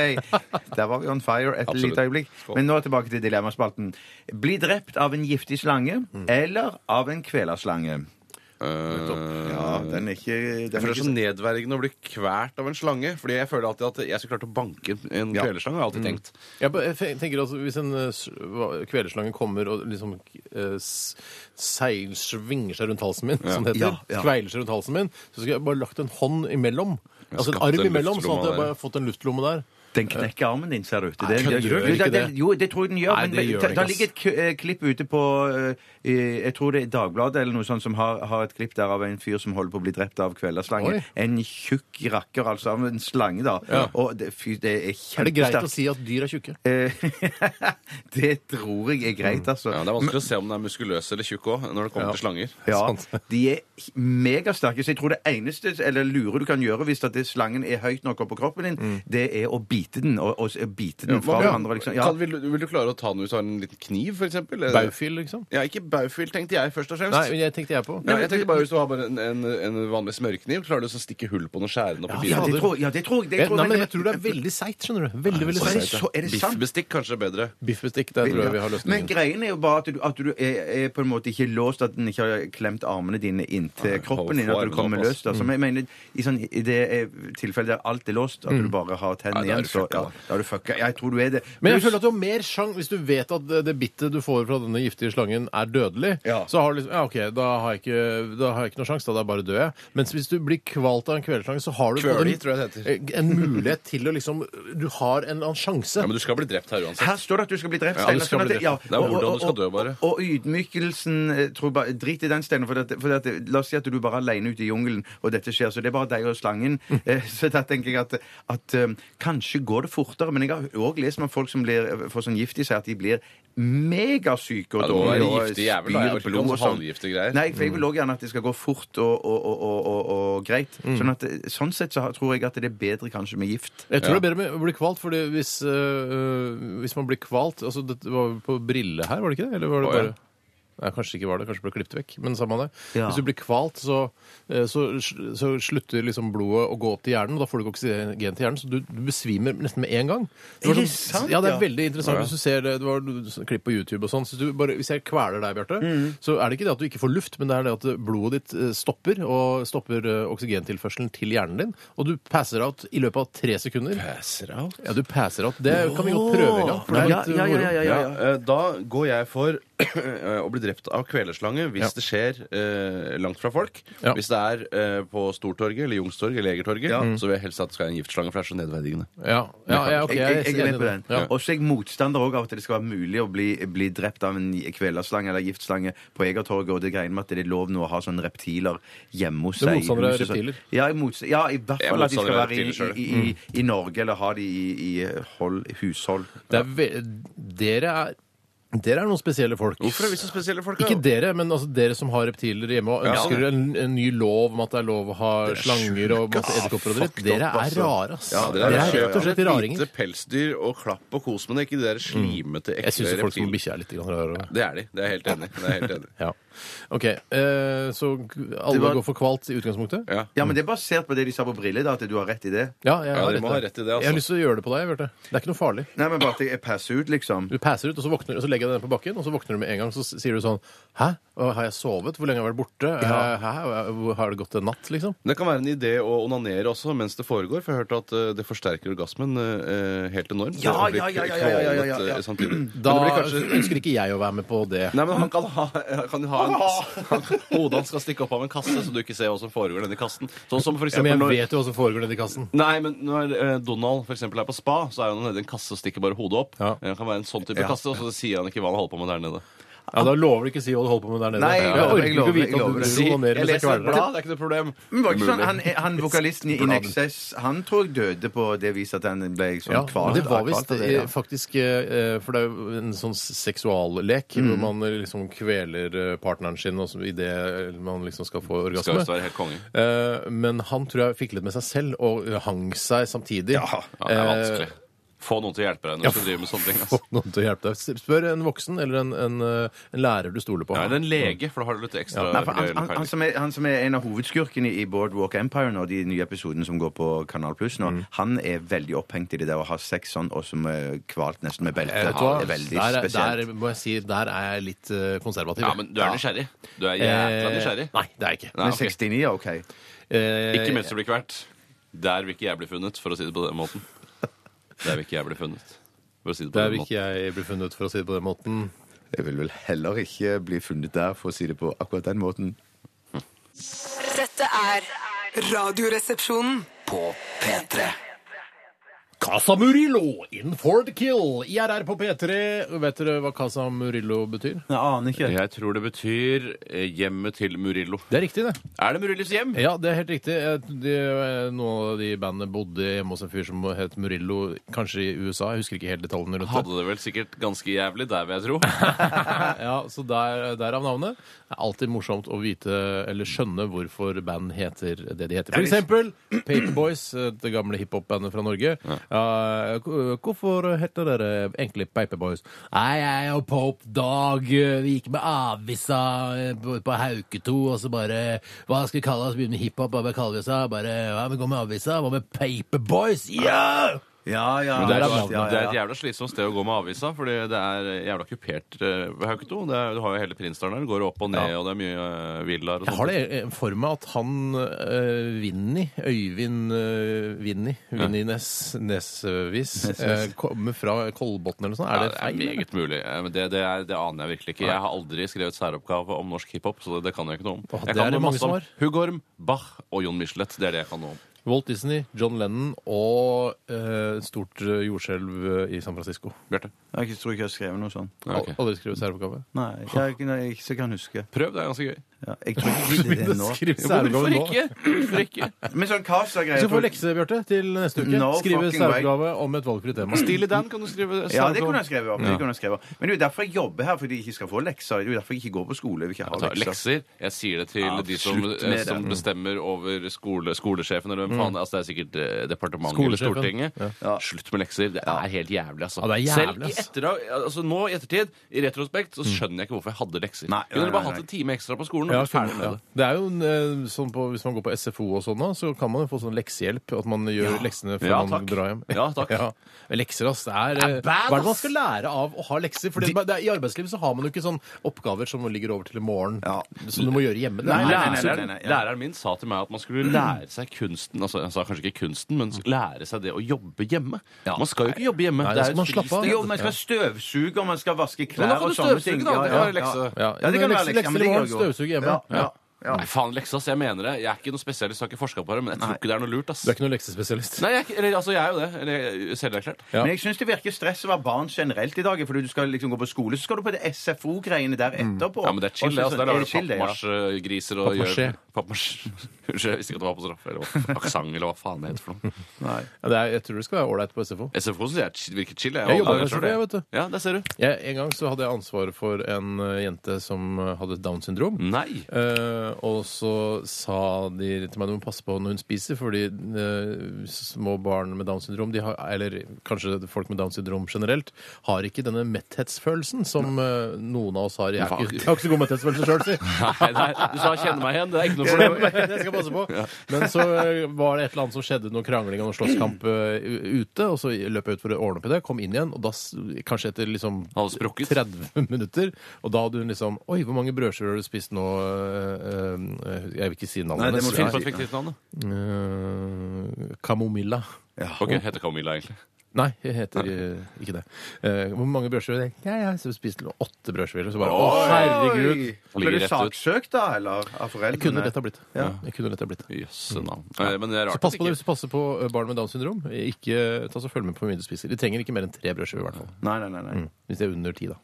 Der var vi on fire et Absolutt. lite øyeblikk. Men nå tilbake til dilemmaspalten. Bli drept av en giftig slange eller av en kvelerslange? Eh, Ja, den er ikke den Jeg er føler det er ikke så nedverdigende å bli kvert av en slange. Fordi jeg føler alltid at jeg skulle klart å banke en Ja. kvelerslange. Har jeg alltid tenkt. Jeg bare- jeg fe- tenker altså, Hvis en eh, s- hva- kvelerslange kommer og liksom eh, s- seilsvinger seg rundt halsen min, som det heter, Ja, ja. kveiler seg rundt halsen min, så skulle jeg bare lagt en hånd imellom. Altså en skapt arm en imellom, sånn at luftlomme jeg bare fått en luftlomme der. Den knekker armen din, ser det ut til. Nei, Den- den gjør Jo, ikke den- det. Jo, det tror jeg den gjør. Nei, men det altså. gjør det- den der ikke, ligger et k- eh, klipp ute på eh, eh, Jeg tror det er Dagbladet eller noe sånt som har, har et klipp der av en fyr som holder på å bli drept av kvelderslange. Oi. En tjukk rakker, altså. Av en slange, da. Og det, fy, det er kjempesterkt. Er det greit altså? å si at dyr er tjukke? Eh, det tror jeg Mm. er greit, altså. Ja, det er vanskelig å se om den er muskuløs eller tjukk òg, når det kommer til slanger. Ja, Sant. de er megasterke. Så jeg tror det eneste eller lure du kan gjøre hvis at det slangen er høyt nok oppå kroppen din, Mm. det er å bite den. Og, og s- bite den fra hverandre. Liksom. Ja. Kan, vil, du- vil du klare å ta den hvis du har en liten kniv, for eksempel? Eller- Baufil, liksom? Ja, ikke baufil, tenkte jeg først og fremst. Nei, men jeg tenkte jeg på. Ja, jeg tenkte bare Hvis du har bare en, en, en vanlig smørkniv, klarer du så å stikke hull på noen skjærende oppi Ja, fader. det tror, ja, det tror jeg. Det Jeg, tror nei, men jeg tror det er veldig seigt, skjønner du. Veldig, veldig er det seigt. så- er det sant? Biffbestikk kanskje er bedre. Biffbestikk, der tror jeg vi har Men løsningen. greien er jo bare at du, at du er, er på en måte ikke låst, at den ikke har klemt armene dine inntil kroppen din. At armene du kommer opp, løst. mm. Altså, men jeg mener, I sånn, i det eh, tilfellet der alt er Mm. låst, at du bare har tennene Nei, da igjen, er du så fucka, ja, da. da er du fucka. Jeg tror du er det. Men jeg Pluss- føler at du har mer sjans hvis du vet at det- det bittet du får fra denne giftige slangen, er dødelig. Ja. Så har du liksom, ja, ok, da har jeg ikke, da har jeg ikke noe sjanse, da da bare dør jeg. Mens hvis du blir kvalt av en kveldslange, så har du Kvøli, en- tror jeg det en mulighet til å liksom Du har en eller annen sjanse. Ja, Men du skal bli drept her uansett. Her står det at du skal bli drept. Ja, Steinar, du skal sånn at bli drept. Det er og- og- hvordan du skal og- dø, bare. Og, og ydmykelsen eh, tror jeg bare, Drit i den, Steinar. For, at- for at, la oss si at du bare er alene ute i jungelen, og dette skjer. Så det er bare deg og slangen. Mm. Eh, Så da tenker jeg at, at eh, kanskje går det fortere. Men jeg har òg lest om folk som blir, får sånn gift i seg at de blir megasyke og Ja, det må dårlige. være og giftig jævel, da. Jeg spyr orker ikke blod og sånn sånn. halvgifte greier. Mm. Nei, for jeg vil òg gjerne at det skal gå fort og, og, og, og, og, og greit. Mm. Sånn, at, eh, sånn sett så har- tror jeg at det er bedre kanskje med gift. Jeg tror det er bedre med å bli kvalt, fordi hvis, øh, hvis man blir kvalt altså Dette var på brille her, var det ikke det? Eller var det Å, ja. bare... Nei, kanskje ikke var det, kanskje ble klippet vekk, men samme det. Ja. Hvis du blir kvalt, så, øh, så, sl- så slutter liksom blodet å gå opp til hjernen, og da får du ikke oksygen til hjernen, så du, du besvimer nesten med en gang. Er det sånn- sant, Ja, det ja? er veldig interessant hvis du ser det, det var du- sånn klipp på YouTube og sånn, så hvis du bare, hvis jeg kveler deg, Bjarte, Mm. så er det ikke det at du ikke får luft, men det er det at blodet ditt øh, stopper, og stopper øh, oksygentilførselen til hjernen din, og du passer out i løpet av tre sekunder. Ja, du passer opp. Det kan vi godt prøve en gang. For det er Ja, litt ja, ja, moro. ja, ja, Ja, ja. eh, Da går jeg for eh, å bli drept av kvelerslange hvis Ja. det skjer eh, langt fra folk. Ja. Hvis det er eh, på Stortorget eller Youngstorget eller Egertorget, så vil jeg helst at det skal være en giftslange, for det er så nedverdigende. Ja, ja, ja, ok, Jeg, jeg, jeg er med enig på i den. det. Ja. Og så er jeg motstander også av at det skal være mulig å bli, bli drept av en kvelersslange eller giftslange på Egertorget, og det greiene med at det er lov nå å ha sånne reptiler hjemme hos Du er seg. i motstander av huset, så- reptiler? Mm. Ja, jeg er motst- ja, i hvert Jeg er fall at de skal motstander av være i, reptiler selv. i, i, i Norge, eller ha de i, i hold, hushold. Det er ve dere er dere er noen spesielle folk. Hvorfor er vi så spesielle folk? da? Ikke dere, men altså dere som har reptiler hjemme og Ja. ønsker en, en ny lov om at det er lov å ha slanger og masse edderkopper og dritt. fucked Dere up, er altså. rare, ass. Ja, dere er kjø- rett og slett ja. raringer. Hvite pelsdyr og klapp og kos, men det er ikke de der slimete, ekle Jeg syns folk som reptil- har bikkje er litt grann rare. også. Det er de. Det er jeg helt enig. i. Det er jeg helt enig. i. Ja. OK, eh, så alle var- går for kvalt i utgangspunktet? Ja. Ja, men det er basert på det de sa på briller, da, at du har rett i det. Ja, jeg Ja, har dere rett må i ha det. rett i det, altså. Jeg har lyst til å gjøre det på deg, Bjarte. Det er ikke noe farlig. Nei, men bare at jeg passer ut, liksom. Du passer ut, og så, våkner, og så legger jeg den på bakken, og så våkner du med en gang, så s- sier du sånn Hæ? Å, Har jeg sovet? Hvor lenge har jeg vært borte? Eh, Hæ? Hvor- Har det gått en natt, liksom? Men Det kan være en idé å onanere også mens det foregår, for jeg har hørt at eh, det forsterker orgasmen eh, helt enormt. Ja, Det blir ja, ja, ja, ja, ja, ja, ja, kvalet, ja. eh, Samtidig. Men Da det blir kanskje ønsker ikke jeg å være med på det. Nei, men han kan ha, han kan ha en, han, Hodet hans skal stikke opp av en kasse, så du ikke ser hva som foregår nedi kassen. Sånn som for Ja, eksempel men når jeg vet jo hva som foregår nedi kassen. Nei, men når eh, Donald for eksempel, er på spa, så er han nedi en kasse og stikker bare hodet opp. Ja. Det kan være en sånn type Ja. kasse, og så sier han ikke hva han holder på med der nede. Ja, Da lover du ikke å si hva du holder på med der nede. Nei, jeg jeg lover, orker jeg ikke å lover, vite jeg at lover. du Si, driver og onanerer Jeg mens jeg leser et kveler deg. blad, det er ikke noe problem. Men var ikke sånn, Mulig. han, han vokalisten i Bladen. NXS han tror jeg døde på det viset at han ble sånn Ja, kvalt. det var visst kvalt av det, ja. eh, faktisk eh, For det er jo en sånn seksuallek hvor man liksom kveler eh, partneren sin og så- i det man liksom skal få Skal orgasme. visst være helt konge. Eh, Men han tror jeg fikk litt med seg selv og eh, hang seg samtidig. Ja, det er vanskelig. Eh, Få noen til å hjelpe deg når du skal drive med sånne ting. Få Altså. noen til å hjelpe deg. S- Spør en voksen eller en, en, eh, en lærer du stoler på. Ja, eller en lege, for da har du litt ekstra Nei, for han, reell han, han, peiling. som er, han som er en av hovedskurkene i Boardwalk Empire nå, de nye episodene som går på Kanal Pluss nå, Mm. han er veldig opphengt i det der å ha sex sånn, og som er kvalt nesten med belte. Eh, vet du Det er veldig hva? Der, spesielt. der må jeg si, der er jeg litt eh, konservativ. Ja, men du er nysgjerrig. Du er jævla Eh, nysgjerrig. Nei, det er jeg ikke. Nei, Men Ah, ok. 69 er OK. Eh, Ikke mens du blir kvert. Der vil ikke jeg bli funnet, for å si det på den måten. Der vil ikke jeg bli funnet. For å si det på Der den vil måten. ikke jeg bli funnet, for å si det på den måten. Jeg vil vel heller ikke bli funnet der, for å si det på akkurat den måten. Dette er Radioresepsjonen. På P3 Casa Murillo, in for the kill. IRR på P3. Vet dere hva Casa Murillo betyr? Jeg aner ikke. Jeg tror det betyr eh, hjemmet til Murillo. Det er riktig, det. Er det Murillos hjem? Ja, det er helt riktig. Eh, De, eh, noen av de bandene bodde hjemme hos en fyr som het Murillo, kanskje i USA. Jeg husker ikke helt detaljene rundt det. Hadde det vel sikkert ganske jævlig der, vil jeg tro. Ja, så der, Derav navnet. Det er alltid morsomt å vite eller skjønne hvorfor band heter det de heter. For eksempel Paperboys, eh, det gamle hiphop-bandet fra Norge. Eh, hvor- hvorfor heter dere egentlig Paperboys? Nei, jeg og Pope Dog eh, vi gikk med avisa eh, på på Hauketo, og så bare Hva skal vi kalle oss? Begynne med hiphop, hva kaller vi oss? da? Bare, ja, vi går med avisa. Hva med Paperboys? Ja! Ja, ja. Men der er ja, navnet. ja, Det er ja. et jævla slitsomt sted å gå med avisa, fordi det er jævla kupert eh, ved Hauketo. Det er- Du har jo hele Prinsdalen der. Det går opp og ned, Ja. og det er mye eh, villaer og Jeg sånt. har det eh, for meg at han eh, Vinni, Øyvind eh, Vinni, Vinni Nes, Nesvis, eh, kommer fra Kolbotn eller noe sånt. Er Ja, det feil? det er eller? meget mulig. Eh, men Det, det, er, det aner jeg virkelig ikke. Jeg har aldri skrevet særoppgave om norsk hiphop, så det, det kan jeg ikke noe om. Åh, Jeg det er det kan noe mange masse som om har. Hugorm, Bach og Jon Michelet. Det er det jeg kan noe om. Walt Disney, John Lennon og eh, stort eh, jordskjelv eh, i San Francisco. Bjarte? Jeg tror ikke jeg har skrevet noe sånt. Ja, ok. Al- Aldri skrevet særoppgave. Nei, ikke jeg, ikke- nei, ikke så jeg kan huske. Prøv, det er ganske gøy. Ja, jeg tror ikke jeg gidder det nå. Skriv Hvorfor særoppgave nå. ikke? Hvorfor ikke? Men sånn Casa-greier Du skal få tror jeg- lekse, Bjarte, til neste uke. No Skrive fucking way. særoppgave om et valgfritt tema. Steely Dan kan du skrive Ja, det kunne jeg skrevet om. Det kunne jeg skrevet. om. Men det er jo derfor jeg jobber her, fordi jeg ikke skal få lekser. Det er jo derfor jeg ikke går på skole. Jeg vil ikke ha Ta lekser. lekser. Jeg sier det til Ja, de som, eh, slutt med det. som bestemmer over skole, skolesjefen, eller hvem faen. Altså, det er sikkert eh, departementet eller Skolesjefen. Stortinget. Ja. Slutt med lekser. Det er helt jævlig, Ja, altså. det er jævlig, Selv i ass. etterdag, altså, nå i ettertid, i retrospekt, så skjønner jeg ikke hvorfor jeg hadde lekser. Nei, Kunne nei, dere bare nei, hatt en time ekstra på skolen? og Ja, vært ferdig med ja. det? Det er jo en, eh, sånn på, Hvis man går på SFO og sånn, nå, så kan man jo få sånn leksehjelp. At man gjør leksene før Ja, man takk. drar hjem. Ja, takk. Men Lekser, ass. Det er, eh, Det er bad, hva er det man ass. skal lære av å ha lekser? For det, det er, I arbeidslivet så har man jo ikke sånn oppgaver som ligger over til i morgen, Ja. som du må gjøre hjemme. Det Nei, er nei, nei, liksom- nei, nei, nei. Ja. Læreren min sa til meg at man skulle lære seg kunsten altså Han sa kanskje ikke kunsten, men lære seg det å jobbe hjemme. Man skal jo ikke jobbe hjemme. Nei, det da er skal man et slappe av. fristed. Jo, man skal støvsuge, og man skal vaske Men da klær kan og du sånne ting. støvsuge, da. Det kan være lekse. Ja, Ja, ja det men kan være lekser- lekse. lekser men det i morgen, går jo. støvsuge hjemme. Ja, ja, ja. Nei, faen, leksa, ass, jeg mener det. Jeg er ikke noen spesialist, har ikke forska på det, men jeg tror ikke det er noe lurt, ass. Du er ikke noen leksespesialist. Nei, jeg, er ikke- eller, altså, jeg er jo det. Eller selverklært. Ja. Men jeg syns det virker stress å være barn generelt i dag. Fordi du skal liksom gå på skole, så skal du på det SFO-greiene der etterpå. Ja, men det er Og chill. så- Altså, der er lager det du chill, det, ja. pappmasjegriser og Pappmasjé. gjør Pappmasjé. Unnskyld, jeg visste ikke at det var på straff. Eller hva- aksent, eller hva faen det heter for noe. Nei. Ja, det er, jeg tror det skal være ålreit på SFO. SFO syns jeg er- virker chill. Jeg jobber Ja, på tror SFO, jeg, vet du. Ja, der ser du. Jeg, en gang så hadde jeg ansvaret for en eh, jente som eh, hadde Downs syndrom. Nei! Eh, og så sa de til meg du må passe på når hun spiser, fordi eh, små barn med Downs syndrom, de har, eller kanskje folk med Downs syndrom generelt, har ikke denne metthetsfølelsen som eh, noen av oss har. Jeg, er ikke, jeg har ikke så god metthetsfølelse sjøl, si. Nei, nei, du sa 'kjenne meg igjen'. Det er ikke noe Men problem. jeg skal passe på. Men så eh, var det et eller annet som skjedde, noe krangling og noe slåsskamp eh, u- ute. Og så løp jeg ut for å ordne opp i det, kom inn igjen, og da s- kanskje etter liksom Han hadde sprukket. 30 minutter. Og da hadde hun liksom Oi, hvor mange brødskiver har du spist nå? eh, eh, Jeg vil ikke si navnet Nei, det må hennes. du Finn på Nei, et fiktivt navn, da. eh, Kamomilla. Ok, heter Camilla, egentlig. Nei, jeg heter eh, ikke det. Eh, hvor mange brødskiver? Nei, jeg har spist spiste åtte brødskiver. Så bare Å, herregud! Oi! Ble du Ligger rett ut. saksøkt, da, eller? Av foreldrene? Jeg kunne lett ha blitt det. Ja. Jeg kunne lett ha blitt det. Jøsse navn. Eh, Men det er Så rart. pass at på det ikke- hvis du passer på eh, barn med Downs syndrom. Mm. Ikke, ta så Følg med på hvor mye du spiser. De trenger ikke mer enn tre brødskiver. i hvert fall. Nei, nei, nei. nei. Hvis de er under ti, da.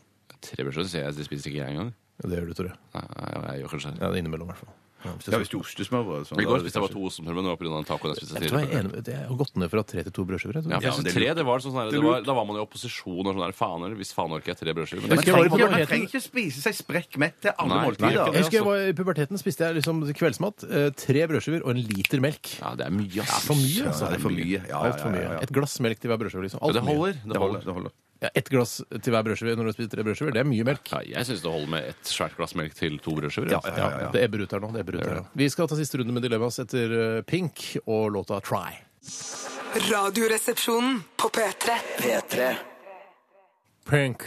Trebørsjoen ser jeg, det spiser ikke jeg engang. Det gjør du, Tore. Nei, nei, jeg gjør kanskje det. Ja, det er innimellom, i hvert fall. Ja, hvis jeg Ja, skal- hvis du ostesmørbrød sånn, da I går er det spiste jeg bare kanskje- to ostesmørbrød, men det var pga. tacoen jeg spiste Vet du hva, jeg er tidligere. enig med- Jeg har gått ned fra tre til to brødskiver. jeg, tror. Ja, men det for jeg synes er tre, det var sånn der, Det er det var, lurt. Da var man i opposisjon og sånn der Faen, eller hvis faen orker jeg tre brødskiver. Men Jeg det- Man husker jeg var i trenger, ikke- man puberteten. trenger ikke spise seg sprekkmett til andre Nei, måltider. nei, ikke Jeg det. husker jeg var I puberteten spiste jeg liksom kveldsmat. eh, Tre brødskiver og en liter melk. Ja, det er mye, ass. For mye, Så altså. er det for mye. Ja, Alt for mye. Et glass melk til hver brødskive. liksom. Ja, Alt det for mye. holder. Det holder. Det holder. Ja, ett glass til hver brødskive når du spiser tre brødskiver. Det er mye melk. Ja, jeg syns det holder med et svært glass melk til to brødskiver. Ja, altså. ja, ja. Det ebber ut her nå. det ebber ut her nå. Vi skal ta siste runde med Dilemmas etter eh, Pink og låta Try. Radioresepsjonen på P3. P3 Pink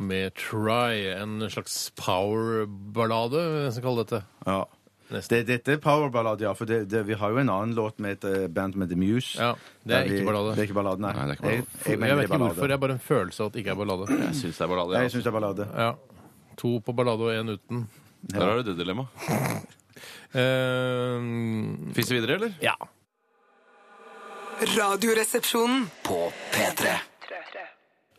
med Try, en slags powerballade, hvis jeg kaller dette. Ja. Nesten. Det, dette er powerballad, ja. For det, det, vi har jo en annen låt med et eh, band som heter Muse. Ja, det er Der vi- ikke ballade. Det er ikke ballade, nei. Nei, det er ikke ballade. Jeg, jeg, Jeg, vet mener det er ikke ballade. hvorfor, det er bare en følelse av at det ikke er ballade. Jeg syns det er ballade. Nei, jeg altså. syns det er ballade. Ja. To på ballade og én uten. Der har du det dilemmaet. Eh, Fins det videre, eller? ja. Radioresepsjonen. på P3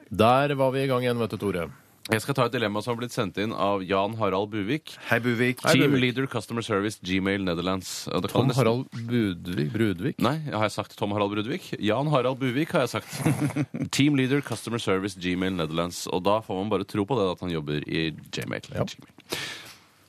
Der var vi i gang igjen, vet du, Tore. Jeg skal ta et dilemma som har blitt sendt inn av Jan Harald Buvik. Hei, Buvik. Team Leader Customer Service Gmail Netherlands. Og det kan Tom nesten- Harald Budvik, Brudvik. Nei, har jeg sagt Tom Harald Brudvik? Jan Harald Buvik har jeg sagt. Team Leader Customer Service Gmail Netherlands. Og da får man bare tro på det at han jobber i Gmail. Gmail.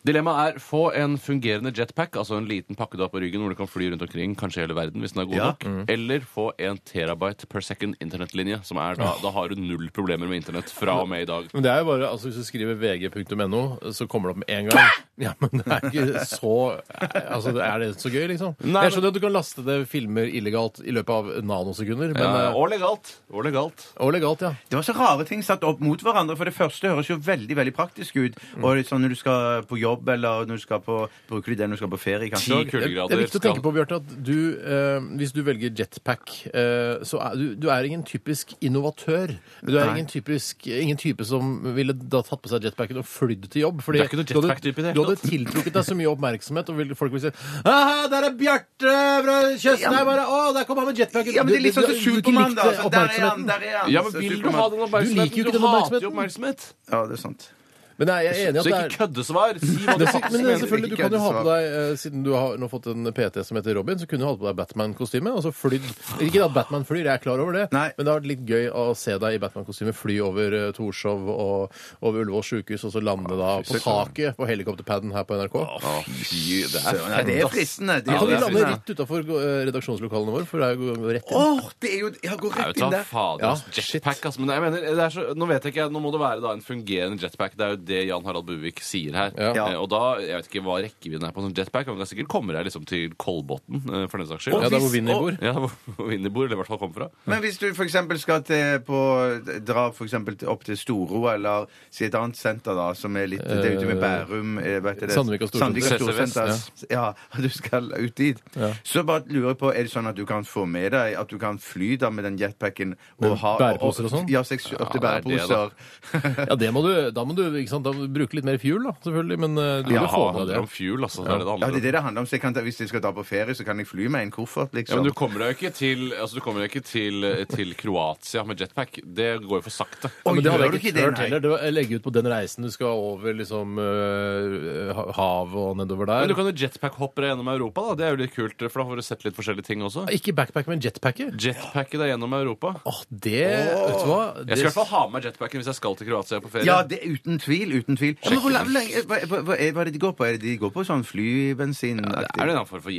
Dilemmaet er få en fungerende jetpack, altså en liten pakke du har på ryggen hvor du kan fly rundt omkring, kanskje hele verden hvis den er god Ja. nok, Mm. eller få en terabyte per second internettlinje, som er da, da har du null problemer med internett fra og med i dag. Men det er jo bare, altså Hvis du skriver vg.no, så kommer det opp med en gang. Ja, Men det er ikke så Altså, Er det så gøy, liksom? Nei, jeg skjønner at du kan laste det filmer illegalt i løpet av nanosekunder, men Eh, eh, Og legalt. Og legalt. Og legalt, ja. Det var så rare ting satt opp mot hverandre. For det første høres jo veldig veldig praktisk ut. Mm. Og litt sånn når du skal på jobb, eller når du skal på Bruker du det når du skal på ferie, kanskje? Ti også? Det kuldegrader. det er viktig å skal- tenke på, Bjarte, at du, eh, hvis du velger jetpack, eh, så er du, du er ingen typisk innovatør. Du er Nei. ingen, typisk, ingen type som ville da tatt på seg jetpacken og flydd til jobb. Fordi Det er ikke noe du hadde- jetpack-type i det hele Du hadde tiltrukket deg så mye oppmerksomhet, og ville- folk ville si Aha, der er Bjarte fra Tjøstheim! bare, Å, der kom han med jetpacken! Ja, men det er litt Du- sånn du- som du- du Supermann, likte da. Altså, der er han, oppmerksomheten. der er han. Ja, men Vil du Superman. ha den oppmerksomheten? Du liker jo ikke den hater jo oppmerksomheten. oppmerksomhet. Ja, det er sant. Men nei, jeg er enig i at Så det er ikke køddesvar. Si hva du Det, men faktisk det, er mener. selvfølgelig, du kan jo ha ikke på deg, eh, Siden du har nå fått en PT som heter Robin, så kunne du hatt på deg Batman-kostyme. og så flydd. Ikke at Batman flyr, jeg er klar over det, Nei. men det har vært litt gøy å se deg i Batman-kostyme fly over eh, Torshov og over Ullevål sjukehus, og så lande da på taket på helikopterpaden her på NRK. Å, fy, det er Søren, ja, det er fristende. Det Ja, er kan vi fristende. lande rett utafor redaksjonslokalene våre? For det er jo rett inn. Åh, det er jo Jeg går Nei, vet rett du inn hva, der. fader, Ja, ass, jetpack, ass. Men jeg mener, det er så, nå vet jeg ikke, nå må det være da en fungerende jetpack. Det er jo det Jan Harald Buvik sier her. Ja. Eh, Og da, jeg vet ikke hva rekkevidden er på en sånn jetpack, men det er sikkert kommer jeg liksom til Kolbotn, eh, for den saks skyld. Ja, der hvor Hvis- Vinni bor. Ja, hvor hvor Vinni bor, eller i hvert fall kommer fra. Men hvis du f.eks. skal til på, dra for eksempel til- opp til Storo eller si et annet senter da, som er litt det er ute med Bærum eh, vet du det? Sandvika Storsenter. Sandvika CC Storsenter. Vest, Ja. du skal ut dit. Så bare lurer jeg på, er det sånn at du kan få med deg At du kan fly da med den jetpacken og ha bæreposer og sånn? Ja, seks-åtte Ja, det er det, da. bæreposer. Ja, det må du, da må du ikke sant, da må du bruke litt mer fuel, da, selvfølgelig. Men eh, du må Ja, jo få med det handler deg om det. fuel, altså. Det er Ja, det det det handler er om. det det handler om. Så jeg kan ta, hvis jeg skal dra på ferie, så kan jeg fly med en koffert, Ja, liksom. men du kommer deg jo ikke til, altså, du kommer deg ikke til, eh, til Kroatia med jetpack. Det går jo for sakte. Ja, men det hadde jeg gjør du ikke ikke det, tørt nei? heller. Det var- Legge ut på den reisen du skal over liksom øh, ha- havet og nedover der. Men du kan jo jetpack-hoppe deg gjennom Europa, da. Det er jo litt kult, for da får du sett litt forskjellige ting også. Ikke backpack, men jetpacket. Jetpacke deg gjennom Europa. Åh, det Vet du hva? Jeg skal i hvert fall ha med meg jetpacken hvis jeg skal til Kroatia på ferie. Ja, det, uten tvil. uten tvil. Men hvor lang- lenge, hva, hva, hva er hva er det de går på? Er det de går på sånn flybensin? det er en eller annen form for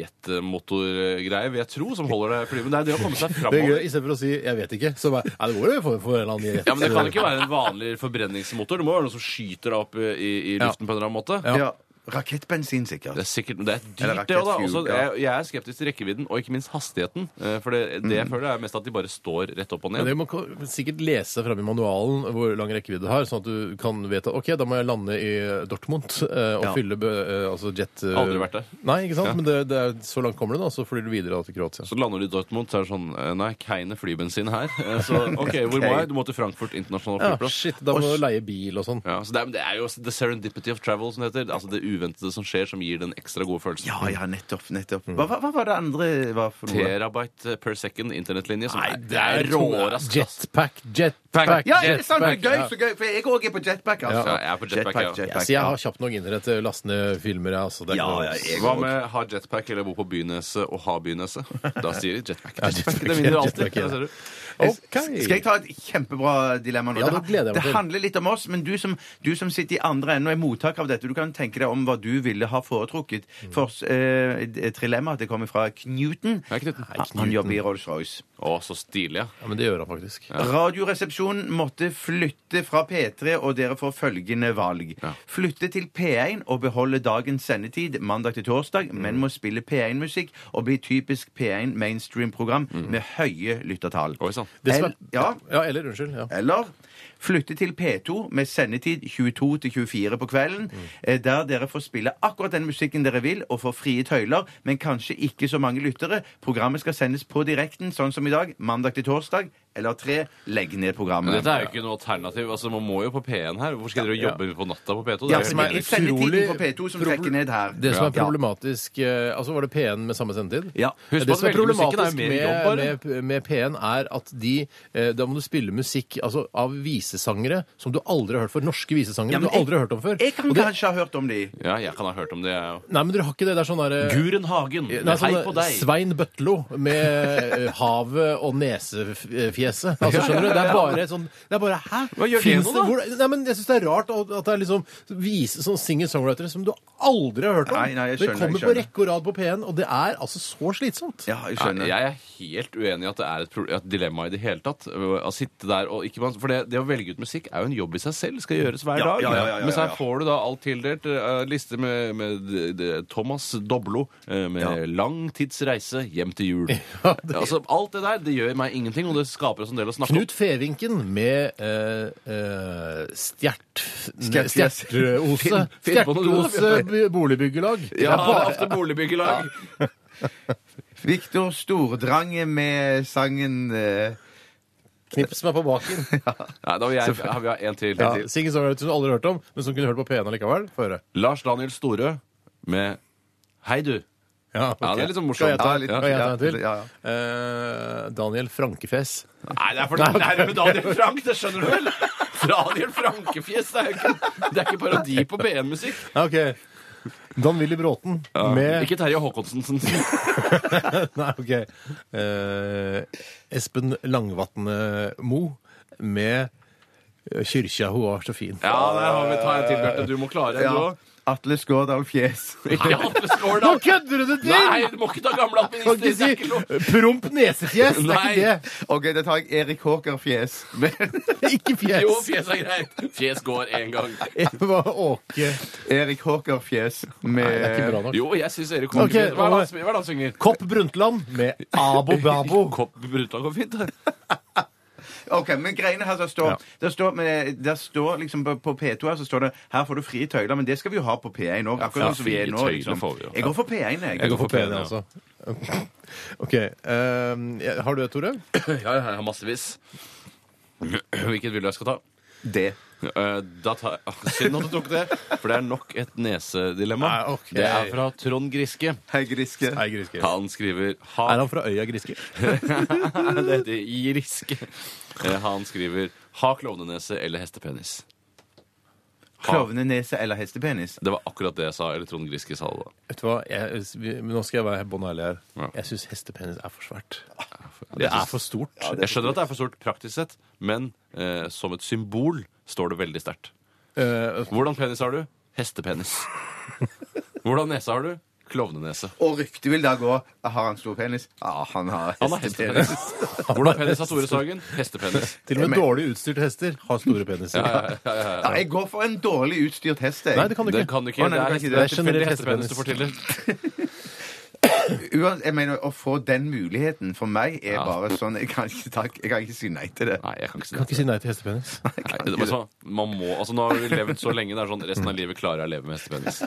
jetmotorgreie, vil jeg tro, som holder deg fly. Men det er det å komme seg det er gøy, framover. I stedet for å si 'jeg vet ikke', så bare Nei, det går jo for, for en eller annen jet. Ja, men Det kan ikke være en vanlig forbrenningsmotor. Det må være noe som skyter deg opp i, i Ja. luften på en eller annen måte. Ja, Rakettbensin, sikkert. Det er sikkert, men det er Eller dyrt, det òg. da. rakettfuel, Også, Altså, ja. jeg, jeg er skeptisk til rekkevidden, og ikke minst hastigheten. eh, For det, det jeg føler, er mest at de bare står rett opp og Men ned. det må ko- sikkert lese fram i manualen hvor lang rekkevidde det har, sånn at du kan vite at OK, da må jeg lande i Dortmund eh, og Ja. fylle bø, eh, altså jet... eh, Aldri vært der. Nei, ikke sant? Men det, det er, så langt kommer du, da, så flyr du videre da til Kroatia. Så lander du i Dortmund, så er det sånn eh, Nei, keine flybensin her. Eh, Så OK, hvor må jeg? Du må til Frankfurt internasjonal Ja, flyplass. shit, da må du leie bil og sånn. Ja, så det, er, men det er jo the serendipity of travel, som det heter. Altså det uventede som skjer, som gir den ekstra gode følelsen. Ja, ja, nettopp. nettopp. Hva, hva, hva var det andre var for noe? Terabyte per eh, second internettlinje. Som Nei, er, det er rårask. ass. Jetpack, jetpack, Jetpack. Ja, det er sant, Jetpack, det er ja. gøy, så gøy, for jeg òg er på jetpack, altså. Ja, jeg er på jetpack, ja. Ja, så jeg har kjapt nok internett til å laste ned filmer, jeg. Altså, det er Ja, ikke noe- ja, jeg- Hva med ha jetpack eller bo på byneset og ha byneset? Da sier de jetpack. Ja, jetpack, det vinner alltid. jetpack, ja. Der ser du. Ok. Skal jeg ta et kjempebra dilemma nå? Ja, da gleder jeg meg det til. handler litt om oss, men du som, du som sitter i andre enden og er mottaker av dette, du kan tenke deg om hva du ville ha foretrukket. For eh, trilemmaet det kommer fra Knuten. Hei, Knuten. Han- Han jobber i Rolls-Royce. Å, så stilig, ja. Ja, men det gjør han faktisk. Radioresepsjonen måtte flytte fra P3, og dere får følgende valg. Flytte til P1 og beholde dagens sendetid mandag til torsdag, men må spille P1-musikk og bli typisk P1 mainstream-program med høye lyttertall. Oi sann. Det som El- er, ja. ja, eller unnskyld. Ja. Eller flytte til P2 med sendetid 22 til 24 på kvelden, eh, der dere får spille akkurat den musikken dere vil, og får frie tøyler, men kanskje ikke så mange lyttere. Programmet skal sendes på direkten, sånn som i dag, mandag til torsdag, eller tre, legg ned programmet. Dette er jo ikke noe alternativ. Altså, Man må jo på P1 her. Hvorfor skal dere jobbe på natta på P2? Ja, jo som helt er meningsløst. sendetiden på P2 som trekker ned her. Det som er Ja. problematisk eh, Altså, var det P1 med samme sendetid? Ja. Husk på det at som er velgermusikken er problematisk jo med, mer jobb, bare. med, med P1, er at de eh, Da må du spille musikk altså, av visesangere som du aldri har hørt før. Norske visesangere Ja, men du aldri har hørt om før. Jeg kan Og det, kanskje ha hørt om de. Ja, jeg kan ha hørt om det, jeg òg. nei, men dere har ikke det. Det er sånn derre Guren Hagen, Nei, hei sånn, på deg. Svein Bøtlo med eh, havet og nesefjeset. Altså, skjønner du? Det er bare sånn det er bare, Hæ? Hva gjør det Finnes nå, da? hvor, nei, men Jeg syns det er rart at at det er liksom vise sånn singer-songwritere som du aldri har hørt om. Nei, nei, jeg skjønner, det kommer jeg på skjønner. rekke og rad på P1, og det er altså så slitsomt. Ja, jeg Nei, skjønner. jeg er helt uenig i at det er et, pro- et dilemma i det hele tatt. Å å sitte der og ikke, For det, det å velge ut musikk er jo en jobb i seg selv. Skal gjøres hver dag. ja, ja, ja, ja, Men så ja. her får du da alt tildelt. eh, liste med, med d- d- Thomas Doblo eh, med lang tids reise hjem til jul. det- altså, alt det der det gjør meg ingenting, og det skaper oss en del å snakke om. Knut Fevinken med eh, eh, Stjert... Stjertfjes. Stjertose. Finn på noe, Stjertose b- boligbyggelag. Ja, Det det er er bare- ofte boligbyggelag. Viktor Stordrange med sangen eh, Knips meg på baken. Nei, da vil jeg, ja, vi ha en til. Ja. Singer-songwriter som du aldri har hørt om, men som kunne hørt på P1 allikevel. Få høre. Lars Daniel Storø med Hei, du. Ja, Ja, ok. det er litt sånn Skal jeg morsomt. ta, Ja, litt- skal jeg ta en ja, til? ja, ja. Eh, Daniel Frankefjes. Nei, det er for nærme Daniel Frank, det skjønner du vel? Daniel Frankefjes, det er jo ikke, det er ikke parodi på P1-musikk. Ja, ok. Dan Willy Bråten med Ikke Terje Håkonsensen. Nei, ok. Eh, Espen Langvatne Mo med eh, 'Kyrkja ho var så fin'. Ja, der har vi ta en til, Bjarte. Du må klare en, du ja. òg. Atle Skårdal Fjes. Eh, Ikke Atle Skårdal. Nå kødder du det til! Nei, du må ikke ta gamle Du kan ikke administrer. Det er ikke lov. si promp nesefjes! Det er ikke Nei. det. OK, da tar jeg Erik Håker Fjes. Ikke Jo, fjes. fjes er greit. Fjes går én gang. Det var Åke Eh. Erik Håker Fjes med Det er ikke bra nok. Jo, jeg syns Erik Ok, Håkonsensen Hva er det han hva- sp- hva er det han synger? Kopp Brundtland med 'Abo Babo'. Kopp Brutland går fint, det. Ok, men greiene her som står, Ja. der står, men, der står liksom på, på P2 her så står det her får du frie tøyler, men det skal vi jo ha på P1 òg. Akkurat Ja, sånn som vi er frie nå. tøyler Liksom. får vi jo. Jeg går for P1, jeg. Jeg For går for P1, P1, ja. altså. OK. eh, har du et, Tore? Ja, ja, ja, massevis. Hvilket vil du jeg skal ta? Det. Eh, Da tar jeg Synd at du tok det, for det er nok et nesedilemma. Nei, Ah, ok. Det er fra Trond Griske. Hei, Griske. Nei, Griske. Han skriver Er han, han fra øya Griske? Det heter Griske. Eh, Han skriver ha klovnenese eller hestepenis. Klovnenese eller hestepenis? Det var akkurat det jeg sa. Eller Trond Griske sa det. Vet du hva, jeg, vi- men Nå skal jeg være bånn ærlig her. Ja. Jeg syns hestepenis er for svært. da Ah, Det er for stort. Jeg skjønner at det er for stort praktisk sett, men eh, som et symbol står det veldig sterkt. Eh, Hvordan penis har du? Hestepenis. Hvordan nese har du? Klovnenese. Og ryktet vil da gå Har han stor penis? Ja, han har Han har hestepenis. hestepenis. Hvordan penis har Tore Sagen? Hestepenis. til og med dårlig utstyrte hester har store peniser. Ja, jeg går for en dårlig utstyrt hest. Jeg. Nei, det kan du Det ikke. kan du Å, ikke. nei, du Det er, kan ikke det er det. tilfeldig Generelt hestepenis du får til. Uan- jeg mener, Å få den muligheten for meg er Ja. bare sånn Jeg kan ikke, takk, jeg kan ikke si nei til det. Nei, jeg kan ikke si Du kan det. ikke si nei til hestepenis. Nei, det er bare sånn, man må, altså, nå har vi levd så lenge. Det er sånn, Resten av livet klarer jeg å leve med hestepenis.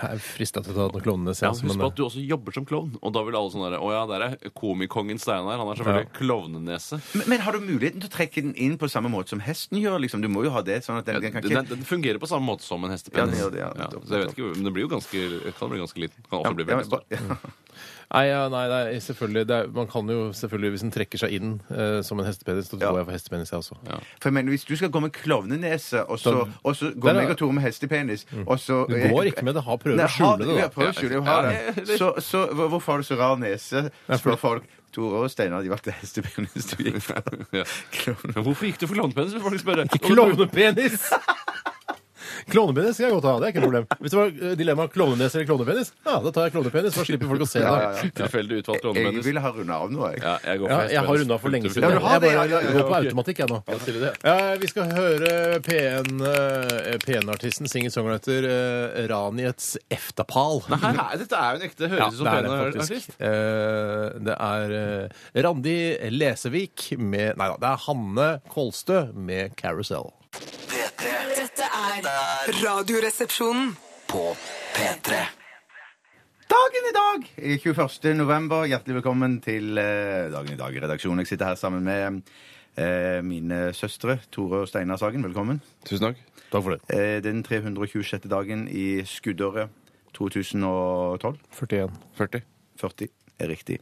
Jeg er frista til å ta den klovnene Ja, selv. Husk på at du også jobber som klovn, og da vil alle sånn derre Å ja, der er komikongen Steinar. Han er selvfølgelig klovnenese. Men, men har du muligheten til å trekke den inn på samme måte som hesten gjør? Liksom? Du må jo ha det sånn at den, den kan Den, ikke den fungerer på samme måte som en hestepenis. Ja, den gjør det, ja. så jeg vet ikke, men den blir jo ganske, kan bli ganske liten. Kan Ja, også bli ja, veldig stor. Mm. ba- ja. Nei, ja, nei, nei selvfølgelig. Det er, man kan jo selvfølgelig, hvis den trekker seg inn eh, som en hestepenis, da Ja. går jeg for hestepenis, jeg også. For jeg mener, Hvis du skal gå med klovnenese, og så, Da- og så Der går er- meg og Tore med hestepenis og så, Mm. Du går ikke med det, har prøver Nei, å skjule det. har- da. ja, prøver å skjule det, har det. Så, så hvor- hvorfor har du så rar nese? spør folk. Tore og Steinar de valgte hestepenis. Du gikk for Ja. klovne. Men hvorfor gikk du for klovnepenis? vil folk spørre. Klovnepenis! Klovnepenis skal jeg godt ha. det er ikke noe problem. Hvis det var eh, dilemma klovnenes eller klovnepenis, ja, da tar jeg klovnepenis. Da slipper folk å se deg. Tilfeldig utvalgt Jeg klovnepenis. ville ha runda av nå, jeg. Ja, jeg, går for Ja, jeg hestepenis. har runda for lenge siden. Ja, du har jeg det, bare ja, ja, ja, går på ok. automatikk, jeg nå. Eh, vi skal høre P1, eh, P1-artisten, singer-songwriter eh, Raniets Eftapal. Nei, nei, dette er jo en ekte høres Ja, ut som det er det pene faktisk. artist. Eh, det er eh, Randi Lesevik med Nei da, det er Hanne Kolstø med 'Carousel'. P3 Dette er Radioresepsjonen. på P3. Dagen i dag! 21. november. Hjertelig velkommen til eh, Dagen i dag-redaksjonen. Jeg sitter her sammen med eh, mine søstre Tore og Steinar Sagen. Velkommen. Tusen takk. Takk for det. Eh, den 326. dagen i skuddåret 2012. 41. 40. 40 er riktig.